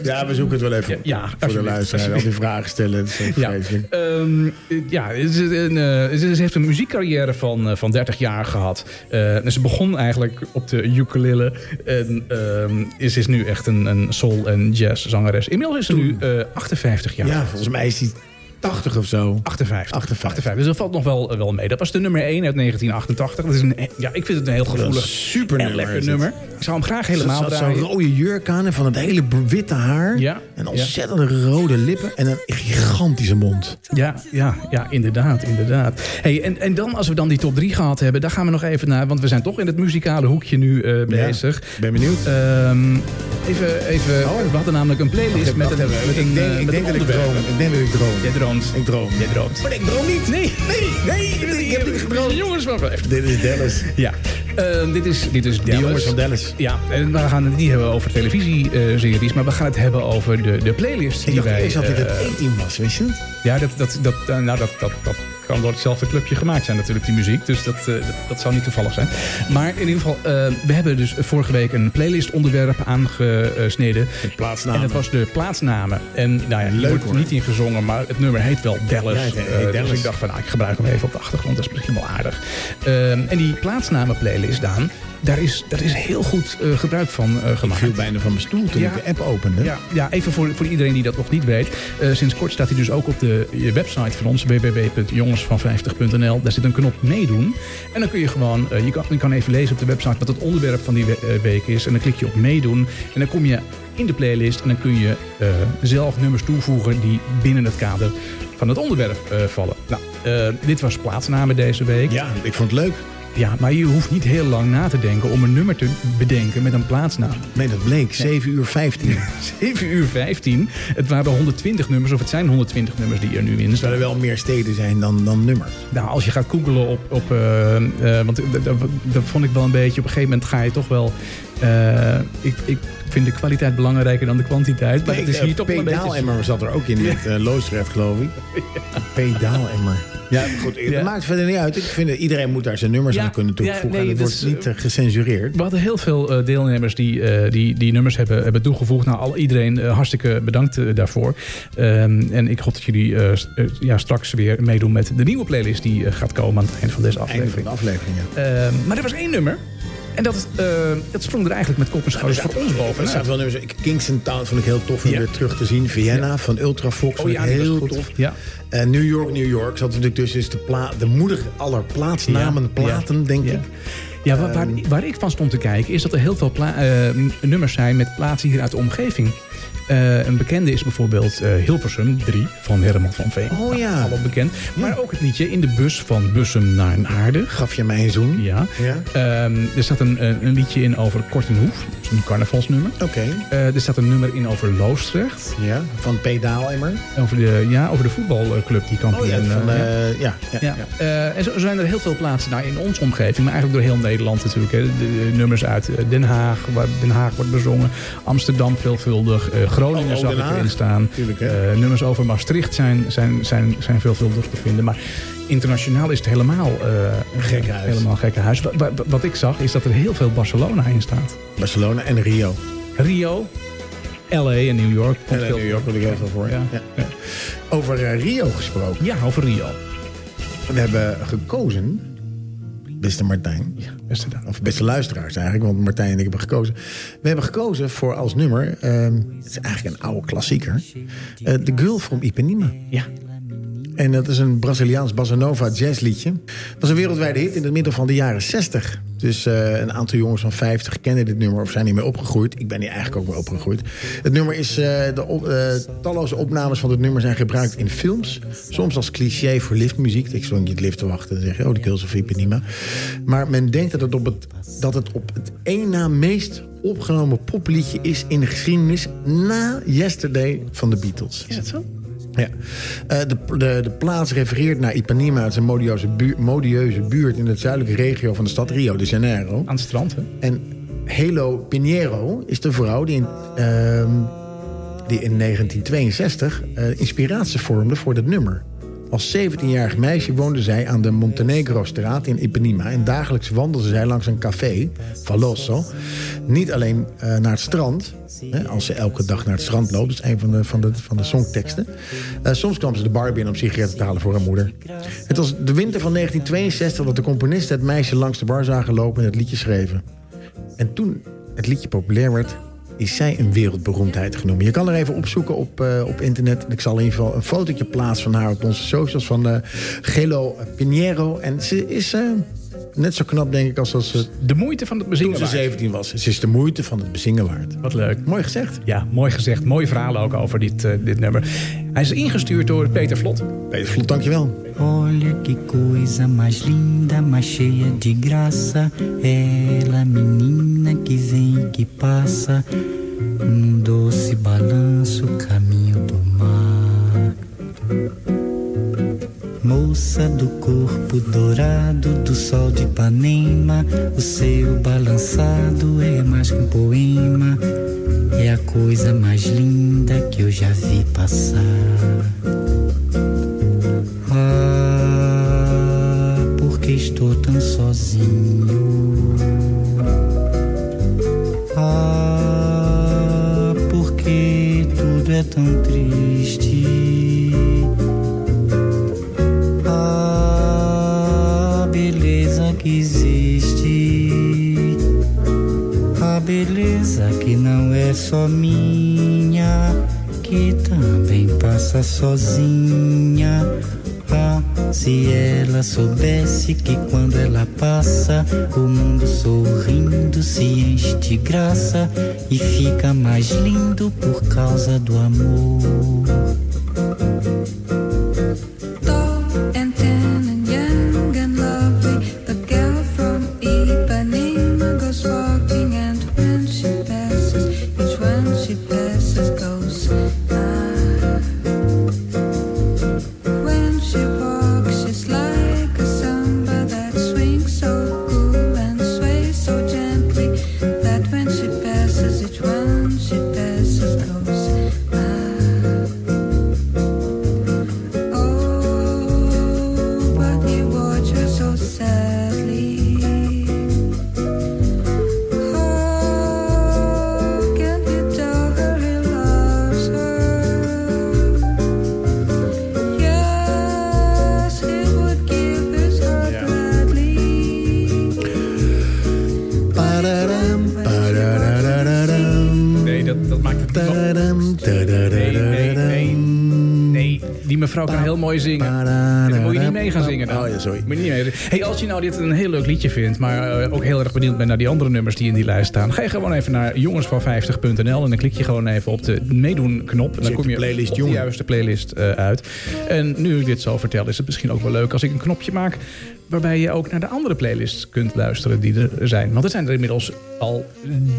Ja, we zoeken het wel even op.
Ja, ja,
voor de
alsjeblieft,
luisteraar. Al die vragen stellen, dat is ook
Ja,
vreselijk.
ehm, ja ze, ze, ze heeft een muziekcarrière van, eh, van 30 jaar gehad. Eh, en ze begon eigenlijk op de ukulele. En ehm, is, is nu echt een, een soul- en jazz zangeres. Inmiddels is ze nu eh, 58 jaar.
Ja, volgens mij is die 80 of zo.
58.
58.
Dus dat valt nog wel, wel mee. Dat was de nummer 1 uit 1988. Dat is een, ja, ik vind het een heel gevoelig
super
en
nummer
lekker
is het.
nummer. Ik zou hem graag helemaal
Helemaal zo'n
draaien.
rode jurk aan en van het hele witte haar.
Ja,
En
ja.
ontzettende rode lippen en een gigantische mond.
Ja, ja, ja, inderdaad, inderdaad. Hey, en, en dan, als we dan die top 3 gehad hebben, daar gaan we nog even naar. Want we zijn toch in het muzikale hoekje nu eh, bezig.
ben benieuwd.
Ehm, even, even,
Oh.
we hadden namelijk een playlist met een, met een,
ik denk,
eh,
ik
met
denk
een
dat ik
onderwerp.
droom. Ik denk dat ik droom.
Jij droomt.
Ik droom.
Jij droomt.
Maar ik droom niet.
Nee, nee,
nee, ik heb niet gedroomd.
Jongens, wacht even.
Dit is Dallas.
Ja, Ehm, dit is, dit is
Die
Dallas.
jongens van Dallas.
Ja, en we gaan het niet hebben over televisieseries, maar we gaan het hebben over de, de playlist die
Ik dacht
wij...
eerst dat dit
eh,
het 18 was, wist je het?
ja, dat, dat, dat, eh, nou, dat, dat, dat kan door hetzelfde clubje gemaakt zijn natuurlijk, die muziek. Dus dat, eh, dat, dat zou niet toevallig zijn. Maar in ieder geval, eh, we hebben dus vorige week een playlist onderwerp aangesneden.
plaatsnamen.
En dat was de plaatsnamen. En nou ja, hier
Leuk,
wordt
hoor.
niet in gezongen, maar het nummer heet wel Dallas.
Ja, het heet
Eh,
Dallas.
Dus ik dacht van, nou, ik gebruik hem even op de achtergrond. Dat is misschien wel aardig. Ehm, en die plaatsnamen playlist, Daan, daar is, daar is heel goed eh, gebruik van eh,
Ik
gemaakt.
viel bijna van mijn stoel toen
Ja.
ik de app opende.
Ja, ja even voor, voor iedereen die dat nog niet weet. Eh, sinds kort staat hij dus ook op de eh, website van ons, www.jongensvan50.nl. Daar zit een knop meedoen. En dan kun je gewoon, eh, je, kan, je kan even lezen op de website wat het onderwerp van die we- eh, week is. En dan klik je op meedoen. En dan kom je in de playlist en dan kun je eh, zelf nummers toevoegen die binnen het kader van het onderwerp eh, vallen. Nou, eh, dit was plaatsnamen deze week.
Ja, ik vond het leuk.
Ja, maar je hoeft niet heel lang na te denken om een nummer te bedenken met een plaatsnaam.
Nee, dat bleek. 7 uur 15. Er
7 uur 15. Het waren 120 nummers, of het zijn 120 nummers die er nu in staan.
zouden wel meer steden zijn dan, dan nummers.
Nou, als je gaat googelen op... op eh, eh, want dat- dat- dat vond ik wel een beetje... Op een gegeven moment ga je toch wel... eh, ik, ik vind de kwaliteit belangrijker dan de kwantiteit. Maar dat is hier toch wel een beetje...
eh, Pedaalemmer zat er ook in, dit eh Loosdrecht, geloof ik. Pedaalemmer. Ja, goed. Het
Ja.
maakt verder niet uit. Ik vind, eh, iedereen moet daar zijn nummers
Ja,
aan kunnen
ja,
toevoegen.
nee,
en dat
dat
wordt
is,
niet eh, gecensureerd.
We hadden heel veel eh, deelnemers die, eh, die, die nummers hebben, hebben toegevoegd. Nou, al, iedereen eh, hartstikke bedankt eh, daarvoor. Ehm, en ik hoop dat jullie eh, st- eh, ja, straks weer meedoen met de nieuwe playlist die eh, gaat komen aan het eind van deze
Einde
aflevering.
van de aflevering, ja.
Ehm, maar er was één nummer. En dat, eh, dat sprong er eigenlijk met kop
Nou,
en schouders
dus
voor ons
Er staat
bovenuit.
wel nummers. ik- Kingston Town vond ik heel tof om
Ja. Oh
weer terug te zien. Vienna van Ultrafox vond
die
ik
was
heel
goed.
tof.
Ja.
En New York, New York zat natuurlijk dus, dus de, pla- de moeder aller plaatsnamen,
Nou, Ja.
platen, denk
Ja,
ik. Ehm.
ja waar, waar, waar ik van stond te kijken is dat er heel veel pla- eh, nummers zijn met plaatsen hier uit de omgeving. Eh, een bekende is bijvoorbeeld eh, Hilversum 3 van Herman van Veen. Nou,
Oh ja.
Allemaal bekend. Maar ook het liedje In de bus van Bussum naar Aardig.
Gaf je mij een zoen?
Ja.
Ja.
Ehm, er zat een, een een liedje in over Kortenhoef. Dat is een carnavalsnummer.
Oké.
Eh, er zat een nummer in over Loosdrecht.
Ja, van Pedaalemmer.
Over de, ja, over de voetbalclub Oh die kampioen...
Oh ja, van,
eh,
eh, ja, ja,
ja.
ja.
Eh, en zo zijn er heel veel plaatsen nou, in onze omgeving, maar eigenlijk door heel Nederland natuurlijk. Hè. De, de nummers uit eh, Den Haag, waar Den Haag wordt bezongen. Amsterdam veelvuldig. eh, Groningen
Oh, oh,
zag
Den
ik erin
Haag.
staan.
Tuurlijk, hè.
Eh, nummers over Maastricht zijn, zijn, zijn, zijn veelvuldig te vinden. Maar internationaal is het helemaal eh
Gekkenhuis.
Helemaal gekkenhuis. Wa- wa- wat ik zag is dat er heel veel Barcelona in staat.
Barcelona en Rio.
Rio, LA en New York.
En eh, New York wil ik heel veel voor.
Ja.
Ja. Over eh, Rio gesproken.
Ja, over Rio.
We hebben gekozen, beste Martijn.
Beste dan.
Of beste luisteraars eigenlijk, want Martijn en ik hebben gekozen. We hebben gekozen voor als nummer, ehm, het is eigenlijk een oude klassieker, eh, The Girl from Ipanema.
Ja.
En dat is een Braziliaans bossa nova jazzliedje. Het was een wereldwijde hit in het midden van de jaren 60. Dus eh, een aantal jongens van 50 kennen dit nummer of zijn hiermee opgegroeid. Ik ben hier eigenlijk ook mee opgegroeid. Het nummer is, eh, de op- eh, talloze opnames van dit nummer zijn gebruikt in films. Soms als cliché voor liftmuziek. Ik stond in het lift te wachten en zeg je, oh, de Kills of Ipanema. Maar men denkt dat het op het, dat het, op het één na meest opgenomen popliedje is in de geschiedenis na Yesterday van de Beatles.
Is het zo?
Ja. Eh, de, de, de plaats refereert naar Ipanema. Het is een modieuze, buur- modieuze buurt in het zuidelijke regio van de stad Rio de Janeiro.
Aan het strand, hè?
En Helo Pinheiro is de vrouw die in, ehm, die in 1962 eh, inspiratie vormde voor dat nummer. Als 17-jarig meisje woonde zij aan de Montenegro-straat in Ipanema... en dagelijks wandelde zij langs een café, Faloso. Niet alleen eh, naar het strand, hè, als ze elke dag naar het strand loopt... dat is een van de, van de, van de songteksten. Eh, soms kwam ze de bar binnen om sigaretten te halen voor haar moeder. Het was de winter van 1962 dat de componisten het meisje langs de bar zagen lopen... en het liedje schreven. En toen het liedje populair werd, is zij een wereldberoemdheid genoemd. Je kan er even opzoeken op, eh, op internet. Ik zal in ieder geval een fotootje plaatsen van haar op onze socials van eh Gelo Pinheiro. En ze is eh, net zo knap, denk ik, als dat ze
De moeite van het
toen
bezingen
ze
waard.
17 was. Ze is de moeite van het bezingen waard.
Wat leuk.
Mooi gezegd.
Ja, mooi gezegd. Mooi verhaal ook over dit, eh, dit nummer. Hij is ingestuurd door Peter Vlot.
Peter Vlot, dankjewel.
Olha que coisa mais linda, mais cheia de graça. Ela, menina que vem e que passa, num doce balanço, caminho do mar. Moça do corpo dourado do sol de Ipanema, o seu balançado é mais que um poema, é a coisa mais linda que eu já vi passar. Ah, porque estou tão sozinho? Ah, porque tudo é tão triste? Ah, beleza que existe. A beleza que não é só minha, que também passa sozinha. Ah, se ela soubesse que quando ela passa, o mundo sorrindo se enche de graça e fica mais lindo por causa do amor.
Tall and tan and young and lovely, the girl from Ipanema goes walking, and when she passes, each one she passes goes ah. When she walks, she's like a samba that swings so cool and sways so gently that when she passes, each one she passes goes ah. Oh, but you watch her so sadly. Oh, can't you tell her he loves her? Yes, he would give his heart gladly.
Pararam, parararararam.
Nee, dat, dat maakt het niet wel-
Tadam, tadadadadadam.
Nee, nee, nee. Nee, die mevrouw kan heel mooi zingen. En dan moet je niet mee gaan zingen dan.
Oh ja, sorry.
Moet je niet mee hey, als je nou dit een heel leuk liedje vindt, maar eh, ook heel erg benieuwd bent naar die andere nummers die in die lijst staan, ga je gewoon even naar jongensvan50.nl en dan klik je gewoon even op de meedoen knop. En dan
Check
kom
de
je
playlist
op de
jongen.
juiste playlist eh, uit. En nu ik dit zo vertel, is het misschien ook wel leuk als ik een knopje maak waarbij je ook naar de andere playlists kunt luisteren die er zijn. Want er zijn er inmiddels al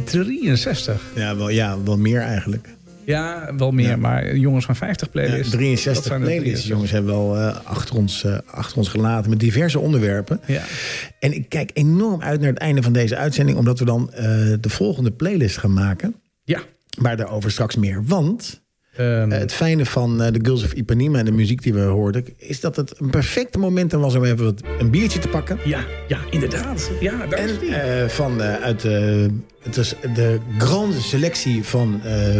63.
Ja wel, ja, wel meer eigenlijk.
Ja, wel meer,
Ja.
maar jongens van 50
Ja,
playlists. dat
63
zijn er
playlists,
63.
jongens, hebben we al eh, achter, ons, eh, achter ons gelaten met diverse onderwerpen.
Ja.
En ik kijk enorm uit naar het einde van deze uitzending, omdat we dan eh, de volgende playlist gaan maken.
Ja.
Maar daarover straks meer. Want
Ehm,
eh, het fijne van eh, de Girls of Ipanema en de muziek die we hoorden, is dat het een perfect moment was om even wat, een biertje te pakken.
ja, ja, inderdaad. Ja, daar is
En
die.
eh, van, eh, uit eh, het is de grande selectie van eh,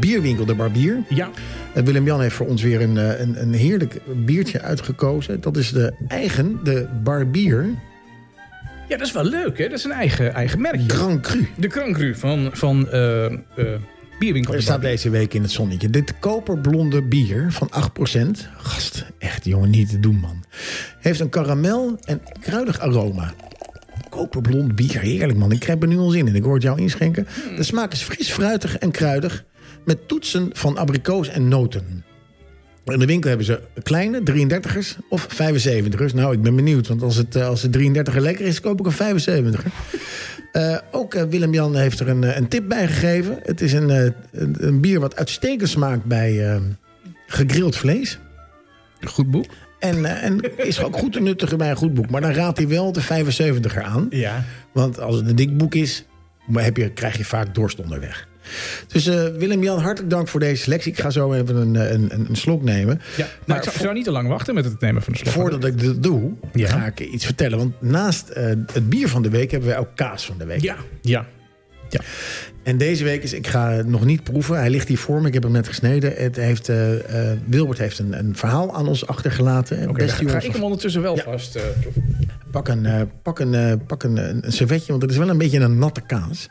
Bierwinkel de Barbier.
ja,
Eh, Willem-Jan heeft voor ons weer een, eh, een, een heerlijk biertje uitgekozen. Dat is de eigen, de Barbier
ja, dat is wel leuk, hè? Dat is een eigen, eigen merkje.
Grand Cru.
De krankru van, van eh, eh, Bierwinkel.
Er staat deze week in het zonnetje. Dit koperblonde bier van 8%. Gast, echt jongen, niet te doen man. Heeft een karamel en kruidig aroma. Koperblond bier, heerlijk man. Ik krijg er nu al zin in. Ik hoor het jou inschenken. De smaak is fris, fruitig en kruidig. Met toetsen van abrikoos en noten. In de winkel hebben ze kleine, 33ers of 75ers. Nou, ik ben benieuwd, want als het, eh, als het 33er lekker is, koop ik een 75er. Eh, ook eh, Willem-Jan heeft er een, eh, een tip bij gegeven. Het is een, eh, een, een bier wat uitstekend smaakt bij eh, gegrild vlees.
Goed boek.
En, eh, en is ook goed te nuttigen bij een goed boek. Maar dan raadt hij wel de 75er aan.
Ja.
Want als het een dik boek is, maar heb je, krijg je vaak dorst onderweg. Dus eh, Willem-Jan, hartelijk dank voor deze selectie. Ik ga zo even een, eh, een, een, een slok nemen.
ja. Maar,
Maar
ik zou,
vo-
zou niet te lang wachten met het nemen van de slag.
Voordat ik dat doe,
Ja.
ga ik iets vertellen. Want naast eh, het bier van de week hebben wij ook kaas van de week.
Ja, ja.
En deze week is, ik ga het nog niet proeven. Hij ligt hier voor me, ik heb hem net gesneden. Het heeft, eh, eh, Wilbert heeft een, een verhaal aan ons achtergelaten.
Oké,
Beste
dan ga- ga,
jongens,
ik hem ondertussen wel
Ja.
vast. eh,
pak een, eh, pak een, eh, pak een, een servetje, want het is wel een beetje een natte kaas.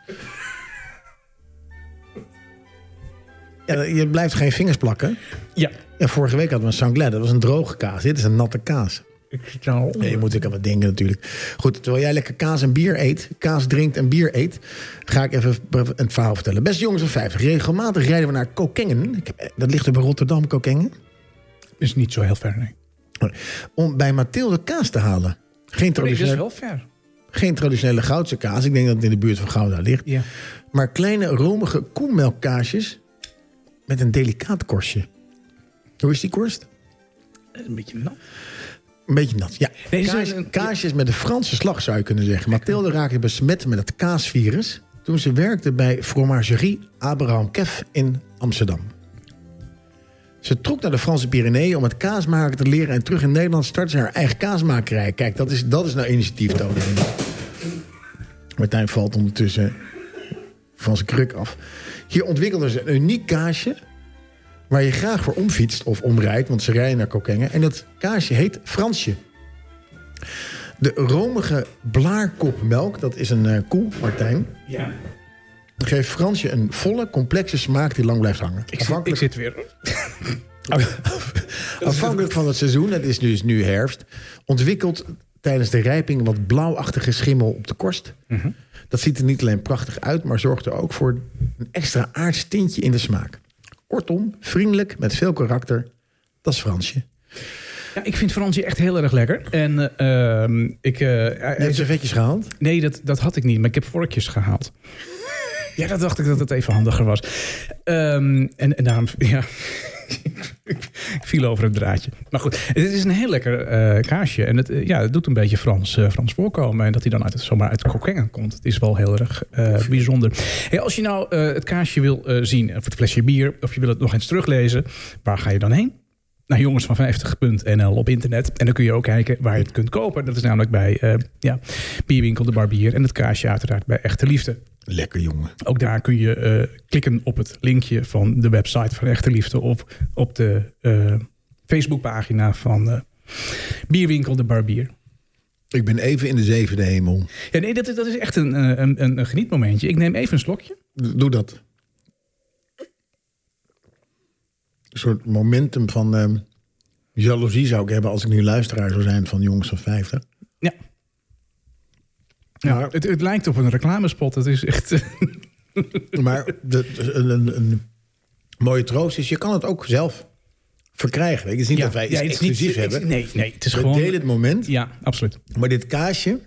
Ja, je blijft geen vingers plakken.
Ja.
Ja, vorige week hadden we een sanglet. Dat was een droge kaas. Dit is een natte kaas.
Ik zit nou
Nee, je moet ik aan wat denken natuurlijk. Goed, terwijl jij lekker kaas en bier eet, kaas drinkt en bier eet, ga ik even een verhaal vertellen. Beste jongens van 50, regelmatig rijden we naar Kokengen. Ik heb- eh, Dat ligt er bij Rotterdam, Kokengen.
Is niet zo heel ver, nee.
Om bij Mathilde kaas te halen. Geen
Nee, dat is
traditionele,
dus wel ver.
geen traditionele goudse kaas. Ik denk dat het in de buurt van Gouda ligt.
Ja.
Maar kleine, romige koemelkkaasjes met een delicaat korstje. Hoe is die korst?
Eh, Een beetje nat.
Een beetje nat, ja.
Nee, ze
kaas,
zijn een-
kaasjes met de Franse slag zou je kunnen zeggen. Mathilde raakte besmet met het kaasvirus... toen ze werkte bij fromagerie Abraham Kef in Amsterdam. Ze trok naar de Franse Pyreneeën om het kaasmaken te leren... en terug in Nederland startte ze haar eigen kaasmakerij. Kijk, dat is, dat is nou initiatief tonen. Martijn valt ondertussen van zijn kruk af. Hier ontwikkelden ze een uniek kaasje... waar je graag voor omfietst of omrijdt... want ze rijden naar Kokengen. En dat kaasje heet Fransje. De romige blaarkopmelk, dat is een eh, koe, Martijn...
Ja.
geeft Fransje een volle, complexe smaak die lang blijft hangen.
Ik zit, ik zit weer.
Afhankelijk van het seizoen, het is dus nu herfst, ontwikkelt tijdens de rijping wat blauwachtige schimmel op de korst. Dat ziet er niet alleen prachtig uit, maar zorgt er ook voor een extra aards tintje in de smaak. Kortom, vriendelijk, met veel karakter, dat is Fransje.
Ja, ik vind Fransje echt heel erg lekker. En eh, ehm, ik... eh, hij-
Je hebt zijn vetjes gehaald?
Nee, dat, dat had ik niet, maar ik heb vorkjes gehaald. Ja, dat dacht ik dat het even handiger was. Ehm, en, en daarom, ja, ik viel over het draadje. Maar goed, het is een heel lekker eh, kaasje. En het, eh, ja, het doet een beetje Frans, eh, Frans voorkomen. En dat hij dan uit, het- zomaar uit Kokengen komt. Het is wel heel erg eh, bijzonder. Hey, als je nou eh, het kaasje wil eh, zien, of het flesje bier... of je wil het nog eens teruglezen, waar ga je dan heen? naar jongensvan50.nl op internet. En dan kun je ook kijken waar je het kunt kopen. Dat is namelijk bij eh, ja, Bierwinkel de Barbier en het kaasje uiteraard bij Echte Liefde.
Lekker jongen.
Ook daar kun je eh, klikken op het linkje van de website van Echte Liefde... op, op de eh, Facebookpagina van eh, Bierwinkel de Barbier.
Ik ben even in de zevende hemel.
Ja, nee, dat, is- dat is echt een, eh, een, een, een genietmomentje. Ik neem even een slokje.
Doe dat. Een soort momentum van ehm, jaloezie zou ik hebben als ik nu luisteraar zou zijn van jongens van 50.
Ja. Ja,
Maar-
het, het lijkt op een reclamespot. Het is echt... eh,
Maar de, een, een, een mooie troost is, je kan het ook zelf verkrijgen. Weet je. Het is niet dat wij iets
het is niet-
exclusief
het is-
hebben.
Nee, nee, het is
We
gewoon...
delen het moment.
Ja, absoluut.
Maar dit kaasje,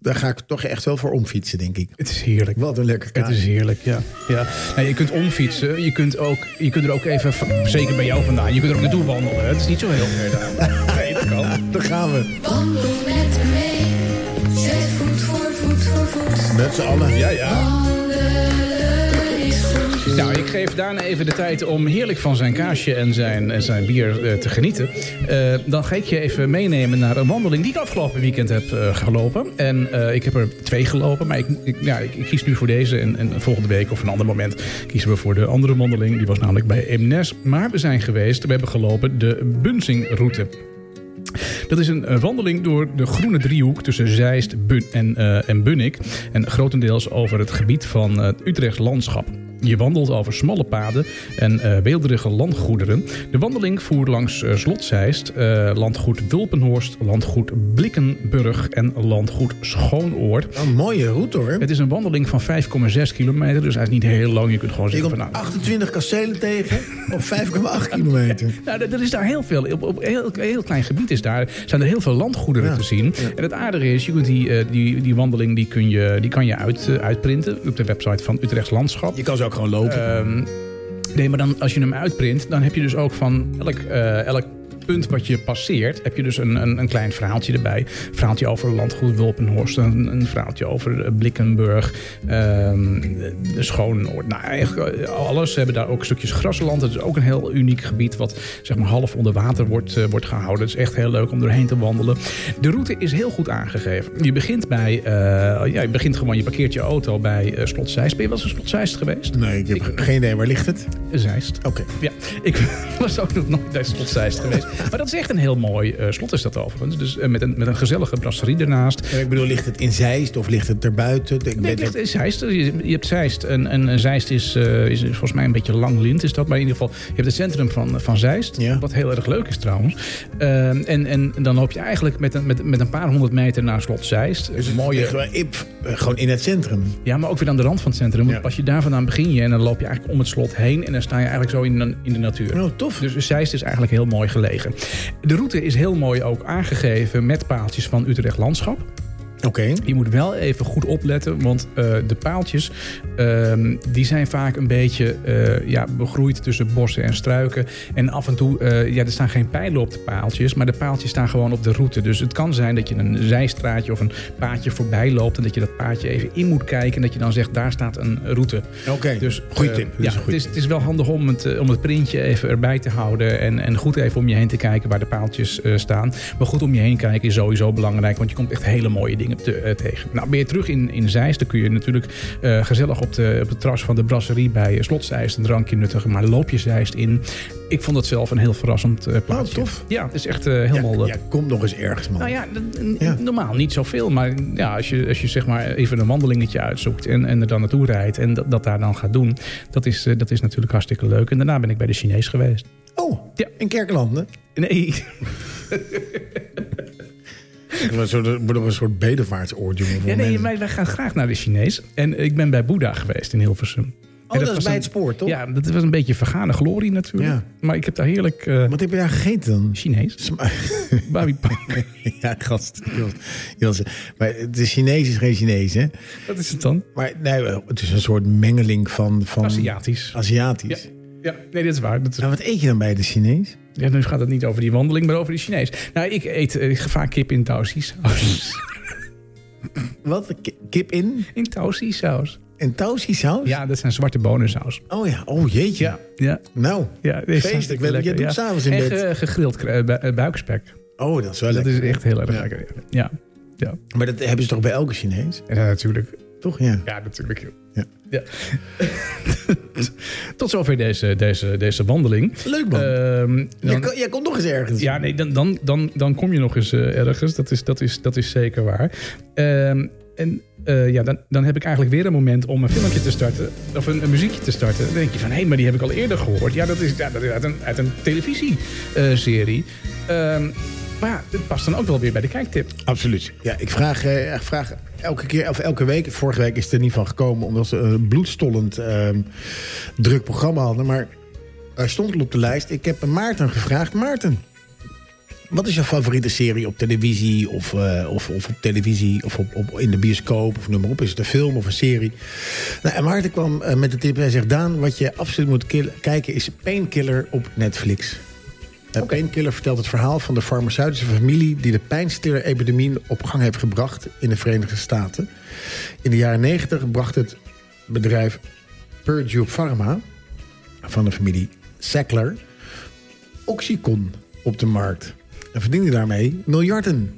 daar ga ik toch echt wel voor omfietsen, denk ik.
Het is heerlijk.
Wat een lekker
Het
kaasje.
is heerlijk, ja. ja. Nou, je kunt omfietsen, je kunt, ook, je kunt er ook even, v- zeker bij jou vandaan, je kunt er ook naartoe wandelen. Het is niet zo heel ver daar. Nee, dat kan.
Daar gaan we.
Wandel met me mee, zet voet voor voet voor voet.
Met z'n allen.
Ja, ja.
Wandelen is goed.
Nou, ik geef Daan even de tijd om heerlijk van zijn kaasje en zijn, en zijn bier eh, te genieten. Eh, dan ga ik je even meenemen naar een wandeling die ik afgelopen weekend heb eh, gelopen. En eh, ik heb er twee gelopen, maar ik, ik, ja, ik, ik kies nu voor deze. En, en volgende week of een ander moment kiezen we voor de andere wandeling. Die was namelijk bij Eemnes. Maar we zijn geweest, we hebben gelopen de Bunsingroute. Dat is een eh, wandeling door de groene driehoek tussen Zeist Bun en, eh en Bunnik. En grotendeels over het gebied van eh, het Utrechts landschap. Je wandelt over smalle paden en eh weelderige landgoederen. De wandeling voert langs eh, Slot Zeist, eh, landgoed Wilpenhorst, landgoed Blikkenburg en landgoed Schoonoord.
Wel Een mooie route hoor.
Het is een wandeling van 5,6 kilometer, dus hij is niet heel lang. Je kunt gewoon
Je
zeggen van
komt
nou,
28 kastelen tegen op 5,8 kilometer.
Nou, er- er is daar heel veel. Op, op een heel, heel klein gebied is daar, zijn er heel veel landgoederen
Ja,
te zien. En het aardige is, je kunt die, eh, die, die wandeling die kun je, die kan je uit, eh, uitprinten op de website van Utrechts Landschap.
Je kan ze ook gewoon lopen.
Ehm, nee, maar dan, als je hem uitprint, dan heb je dus ook van elk, eh, elk punt wat je passeert, heb je dus een, een, een klein verhaaltje erbij. Een verhaaltje over landgoed Wulpenhorst, een, een verhaaltje over eh, Blikkenburg, ehm, de- de Schoonoord. Nou, eigenlijk eh, alles. Ze hebben daar ook stukjes grasland. Het is ook een heel uniek gebied wat zeg maar half onder water wordt, eh, wordt gehouden. Het is echt heel leuk om doorheen te wandelen. De route is heel goed aangegeven. Je begint bij, eh, ja, je begint gewoon, je parkeert je auto bij eh Slot Zeist. Ben je wel eens in Slot Zeist geweest?
Eh, Nee, ik heb geen idee. Waar ligt het? Oké.
Oh, Zeist. Ja, ik was ook nog nooit bij Slot Zeist geweest. Maar dat is echt een heel mooi eh, slot is dat overigens. Dus eh, met, een, met een gezellige brasserie ernaast.
Ja, Ik bedoel, ligt het in Zeist of ligt het erbuiten? Ik
Nee,
weet
het ligt
dat-
in Zeist. eh, Je, je hebt Zeist. En, en en Zeist is, eh, is volgens mij een beetje langlint is dat. Maar in ieder geval, je hebt het centrum van, eh, van Zeist.
Ja.
Wat heel erg leuk is trouwens. Eh, en, en dan loop je eigenlijk met een, met, met een paar honderd meter naar slot Zeist.
Dus het
mooie,
mooie... gewoon in het centrum.
Ja, maar ook weer aan de rand van het centrum. Want
Ja.
als je daar vandaan begin je en dan loop je eigenlijk om het slot heen. En dan sta je eigenlijk zo in, de- in de natuur.
Nou, tof.
Dus Zeist is eigenlijk heel mooi gelegen. De route is heel mooi ook aangegeven met paaltjes van Utrecht Landschap.
Oké.
Je moet wel even goed opletten, want eh, de paaltjes ehm, die zijn vaak een beetje eh, ja, begroeid tussen bossen en struiken. En af en toe, eh, ja, er staan geen pijlen op de paaltjes, maar de paaltjes staan gewoon op de route. Dus het kan zijn dat je een zijstraatje of een paadje voorbij loopt en dat je dat paadje even in moet kijken. En dat je dan zegt, daar staat een route.
Oké,
Dus,
goeie
eh,
tip. Dat
ja,
is een
het,
goeie
is, het is wel handig om het, eh, om het printje even erbij te houden. En, en goed even om je heen te kijken waar de paaltjes eh, staan. Maar goed om je heen kijken is sowieso belangrijk. Want je komt echt hele mooie dingen te, eh, tegen. Nou, ben je terug in, in Zeist. Dan kun je natuurlijk eh, gezellig op, de, op het terras van de brasserie bij eh, Slot Zeist een drankje nuttigen. Maar loop je Zeist in. Ik vond dat zelf een heel verrassend eh plaatsje.
Oh, tof.
Ja, het is echt eh, helemaal...
Ja,
eh,
ja, komt nog eens ergens, man.
nou ja, dat- n-
Ja.
normaal niet zoveel. Maar ja, als, je, als je zeg maar even een wandelingetje uitzoekt en, en er dan naartoe rijdt en dat, dat daar dan gaat doen, dat is, eh, dat is natuurlijk hartstikke leuk. En daarna ben ik bij de Chinees geweest.
Oh,
Ja.
in Kerkeland, hè?
Nee,
Een soort, er wordt nog een soort bedevaartsoordje.
ja, nee wij, wij gaan graag naar de Chinees. En ik ben bij Boeddha geweest in Hilversum. En
Oh, dat,
was
is bij
een-
het spoor, toch?
Ja, dat was een beetje vergane glorie natuurlijk.
Ja.
Maar ik heb daar heerlijk eh,
Wat heb je daar gegeten dan?
Chinees.
Sma-
Babi Pak.
ja, gast. Jos- Jos, Maar de Chinees is geen Chinees, hè?
Wat is het dan?
Maar nee, het is een soort mengeling van... van
Aziatisch. Ja.
Aziatisch.
ja, nee, dat is waar. Dat is
Nou, wat eet je dan bij de Chinees?
Ja, nu gaat het niet over die wandeling, maar over die Chinees. Nou, ik eet eh, vaak kip in saus.
Wat? Ki- Kip in?
in saus.
En saus?
Ja, dat zijn zwarte bonensaus.
Oh ja, oh jeetje.
Ja,
Nou,
ja. die
Feestelijk,
zijn
weet
lekker,
je, je doet
ja.
s'avonds in
En
bed.
ge- gegrild kru- bu- eh, buikspek.
oh dat is wel
Dat
lekker.
is echt heel erg
Ja.
lekker. ja. Ja. Ja.
Maar dat hebben ze toch bij elke Chinees?
ja, natuurlijk.
Toch, ja.
Ja, natuurlijk. joh.
eh, Ja.
Ja. Tot zover deze, deze, deze wandeling.
Leuk man.
Ehm,
jij,
dan-
ko- jij komt nog eens ergens.
Ja, nee, dan, dan, dan, dan kom je nog eens eh, ergens. Dat is, dat, is, dat is zeker waar. Ehm, en eh, ja, dan, dan heb ik eigenlijk weer een moment om een filmpje te starten. Of een, een muziekje te starten. Dan denk je van, hé, maar die heb ik al eerder gehoord. Ja, dat is, ja, dat is uit een, uit een televisieserie. Ehm, maar ja, dit past dan ook wel weer bij de kijktip.
absoluut. Ja, ik vraag, eh, ik vraag elke keer, of elke week, vorige week is het er niet van gekomen, omdat ze een bloedstollend ehm, druk programma hadden. Maar er stond al op de lijst, ik heb Maarten gevraagd. Maarten, wat is jouw favoriete serie op televisie of, eh, of, of op televisie of op, op, in de bioscoop of noem maar op? Is het een film of een serie? Nou, en Maarten kwam eh, met de tip en hij zegt, Daan, wat je absoluut moet kill- kijken is Painkiller op Netflix. De Painkiller vertelt het verhaal van de farmaceutische familie... die de pijnstiller-epidemie op gang heeft gebracht in de Verenigde Staten. In de jaren 90 bracht het bedrijf Purdue Pharma... van de familie Sackler Oxycon op de markt. En verdiende daarmee miljarden.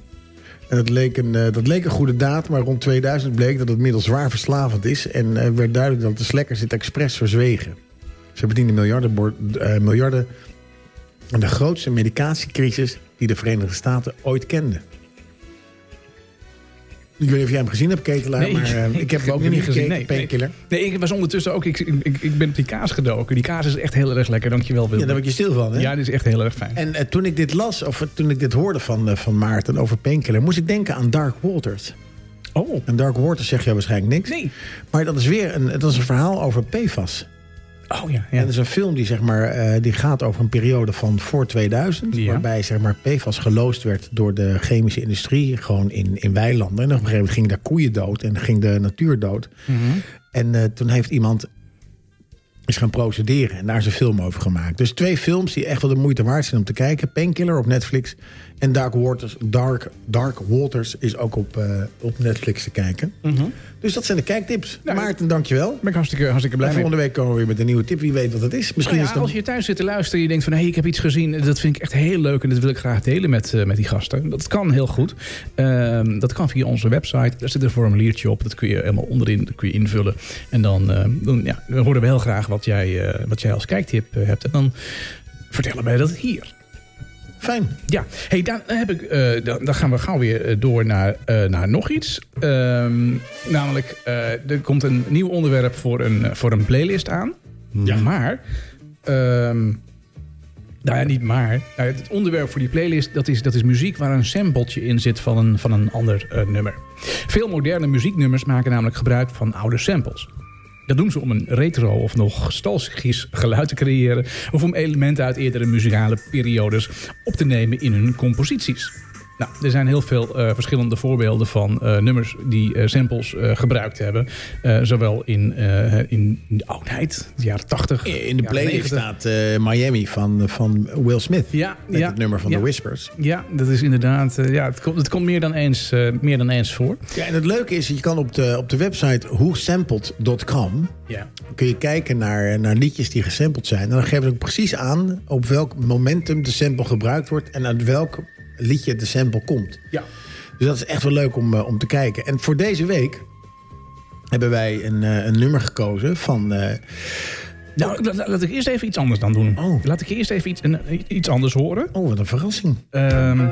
En dat leek, een, eh, dat leek een goede daad, maar rond 2000 bleek dat het middel zwaar verslavend is... en eh, werd duidelijk dat de Slackers dit expres verzwegen. Ze verdienen miljarden, bor- eh, miljarden en de grootste medicatiecrisis die de Verenigde Staten ooit kenden. Ik weet niet of jij hem gezien hebt, Ketelaar,
Nee,
maar eh, ik, heb hem ook
nog
niet
niet gezien,
gezien.
nee.
Painkiller.
Nee, ik was ondertussen ook... Ik, ik, ik ben op die kaas gedoken. Die kaas is echt heel erg lekker. Dankjewel,
Ja, daar
Wilbert.
word je stil van, hè?
Ja, dit is echt heel erg fijn.
En eh, toen ik dit las, of eh, toen ik dit hoorde van, eh, van Maarten over Painkiller... moest ik denken aan Dark Waters.
Oh,
En Dark Waters zeg jij waarschijnlijk niks.
nee.
Maar dat is weer een, dat is een verhaal over PFAS.
Oh ja,
En
ja.
dat is een film die, zeg maar, eh, die gaat over een periode van voor 2000.
Ja.
Waarbij zeg maar, PFAS geloosd werd door de chemische industrie. Gewoon in, in weilanden. En op een gegeven moment ging daar koeien dood. En ging de natuur dood.
Mhm.
En eh, toen heeft iemand is gaan procederen. En daar is een film over gemaakt. Dus twee films die echt wel de moeite waard zijn om te kijken. Painkiller op Netflix. En Dark Waters, Dark, Dark Waters is ook op, eh, op Netflix te kijken. Dus dat zijn de kijktips.
Mhm. Nou,
Maarten, dankjewel.
Ben ik hartstikke, hartstikke blij
En
mee.
volgende week komen we weer met een nieuwe tip. Wie weet wat het is.
Nou
Misschien
ja,
is het
als
een-
je thuis zit te luisteren en je denkt van... hé, hey, ik heb iets gezien, dat vind ik echt heel leuk... en dat wil ik graag delen met, eh, met die gasten. Dat kan heel goed. Ehm, dat kan via onze website. Daar zit een formuliertje op, dat kun je helemaal onderin dat kun je invullen. En dan, ehm, dan, ja, dan horen we heel graag wat jij, eh, wat jij als kijktip eh, hebt. En dan vertellen wij dat hier.
Fijn.
Ja, hey, dan, heb ik, eh, dan, dan gaan we gauw weer eh, door naar, eh, naar nog iets. Ehm, namelijk, eh, er komt een nieuw onderwerp voor een, eh, voor een playlist aan. Ja. Maar, ehm, nou ja, niet maar. Nou, het onderwerp voor die playlist dat is, dat is muziek waar een sampletje in zit van een, van een ander eh, nummer. Veel moderne muzieknummers maken namelijk gebruik van oude samples. Dat doen ze om een retro of nog nostalgisch geluid te creëren of om elementen uit eerdere muzikale periodes op te nemen in hun composities. Nou, er zijn heel veel eh, verschillende voorbeelden van eh, nummers die eh, samples eh, gebruikt hebben. Eh, zowel in, eh, in de oudheid, de jaren 80.
In de
jaren
playlist
90.
staat eh, Miami van, van Will Smith.
Ja,
Met
ja,
het nummer van
ja.
The Whispers.
Ja, dat is inderdaad. eh, ja, het, komt, het komt meer dan eens, eh, meer dan eens voor.
Ja, en het leuke is, je kan op de, op de website whosampled.com...
Ja.
kun je kijken naar, naar liedjes die gesampled zijn. En dan geven ze ook precies aan op welk momentum de sample gebruikt wordt... en uit welk liedje de sample komt.
Ja.
Dus dat is echt wel leuk om, eh, om te kijken. En voor deze week hebben wij een, eh, een nummer gekozen van... eh,
Nou, la- la- laat ik eerst even iets anders dan doen.
Oh.
Laat ik eerst even iets, een- iets anders horen.
oh, wat een verrassing.
Ehm,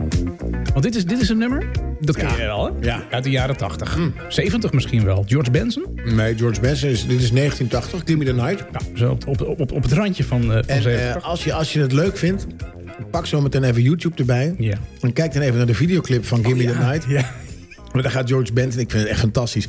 want dit is, dit is een nummer. Dat ken je wel, hè?
Ja. Hm.
Uit de jaren 80. 70 misschien wel. George Benson.
Nee, George Benson, is, dit is 1980, Give Me The Night.
Nou, zo op, op, op, op het randje van, eh, van
En eh,
70.
als, je, als je het leuk vindt, pak zo meteen even YouTube erbij.
Ja. Oh,
En kijk dan even naar de videoclip van Give Me The Night.
Ja.
Maar daar gaat George Benson, ik vind het echt fantastisch.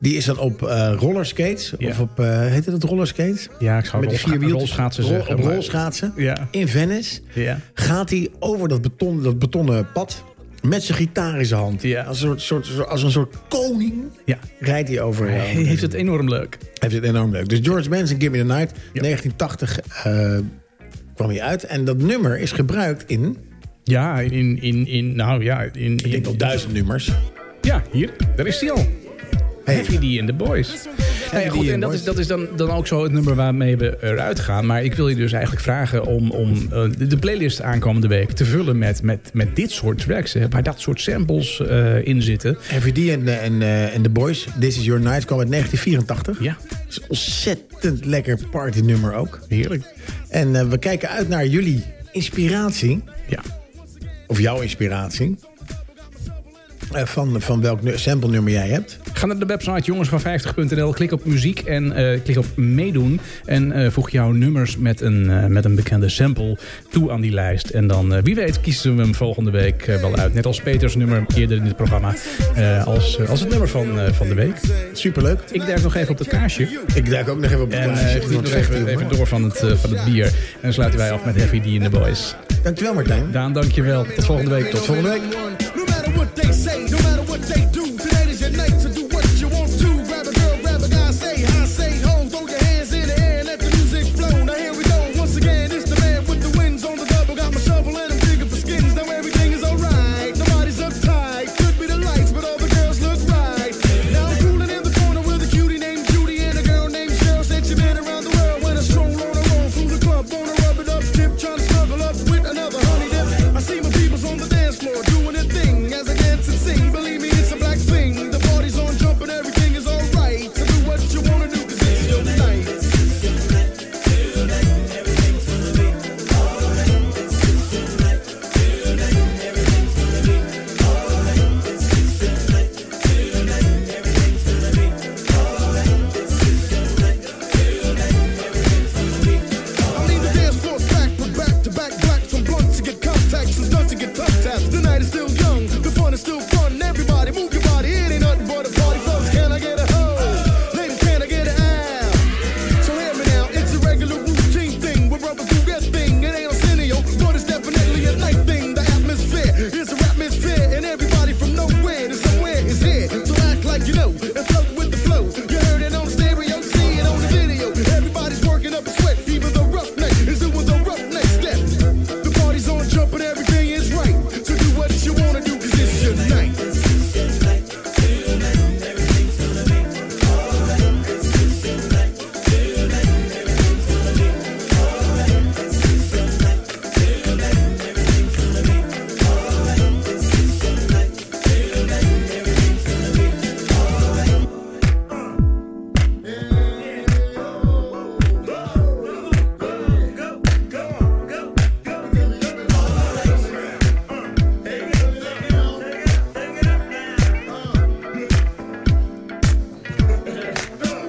Die is dan op eh rollerskates,
Ja.
of op, eh heet het dat, rollerskates?
ja, ik zou
Met die
rolscha-
vier wieltjes.
rolschaatsen
Rol-
zeggen.
Op
maar-
rolschaatsen.
Ja.
In Venice
Ja.
gaat hij over dat, beton, dat betonnen pad met zijn gitaar in zijn hand.
Ja.
Als, een soort, soort, als een soort koning
Ja.
rijdt hij over. eh,
Hij
over
heeft het enorm leuk.
hij vindt het enorm leuk. Dus George Benson, Give Me The Night,
Ja.
1980 eh, kwam hij uit. En dat nummer is gebruikt in,
Ja, in, in, in nou ja, in... in
ik denk wel duizend nummers.
Ja, hier, daar is hij al. Heavy D and the Boys. Nou ja,
D
goed,
and
en dat
Boys.
is, dat is dan, dan ook zo het nummer waarmee we eruit gaan. Maar ik wil je dus eigenlijk vragen om, om eh, de- de playlist aankomende week te vullen met, met, met dit soort tracks. Hè, waar dat soort samples eh, in zitten.
MVD en, eh, en, eh, en The Boys, This Is Your Night, kwam uit 1984.
Ja,
Dat is een ontzettend lekker partynummer ook.
heerlijk.
En eh, we kijken uit naar jullie inspiratie.
Ja.
Of jouw inspiratie. eh, van, van welk nu- sample nummer jij hebt.
Ga naar de website jongensvan50.nl, klik op muziek en eh, klik op meedoen. En eh, voeg jouw nummers met een, eh, met een bekende sample toe aan die lijst. En dan, eh, wie weet, kiezen we hem volgende week eh, wel uit. Net als Peters nummer eerder in het programma, eh, als, eh, als het nummer van, eh, van de week.
Superleuk.
Ik duik nog even op dat kaarsje.
Ik duik ook nog even op de
En eh,
plaats.
geniet
Het wordt
nog
vechten,
even,
jongen.
even door van het, eh, van het bier. En dan sluiten wij af met Heavy D and the Boys.
Dankjewel Martijn.
Daan, dankjewel. Tot volgende week. Tot
volgende week.
No matter what they say, no matter what they do, today is your night to do what you want to. Grab a girl, grab a guy, say hi, say ho, throw your hands in the air and let the music flow. Now here we go, once again, it's the man with the winds on the double. Got my shovel and I'm digging for skins. Now everything is alright, nobody's uptight. Could be the lights, but all the girls look right. Now I'm cooling in the corner with a cutie named Judy and a girl named Cheryl. Said she been around the world when I stroll on her own through the club, on a rub it up tip, tryna snuggle up with another honey dip. I see my peoples on the dance floor doing their thing as I dance and sing.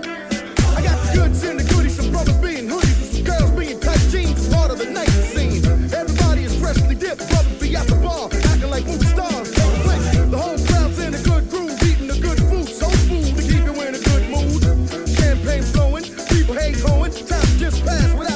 goods in the goodies, some brothers being hoodies, with some girls being tight jeans, part of the night scene. Everybody is freshly dipped, brothers be out the bar, acting like movie stars. Don't flex. The whole crowd's in a good groove, eating the good food, so food to keep you in a good mood. Champagne flowing, people hate going, time just passed without.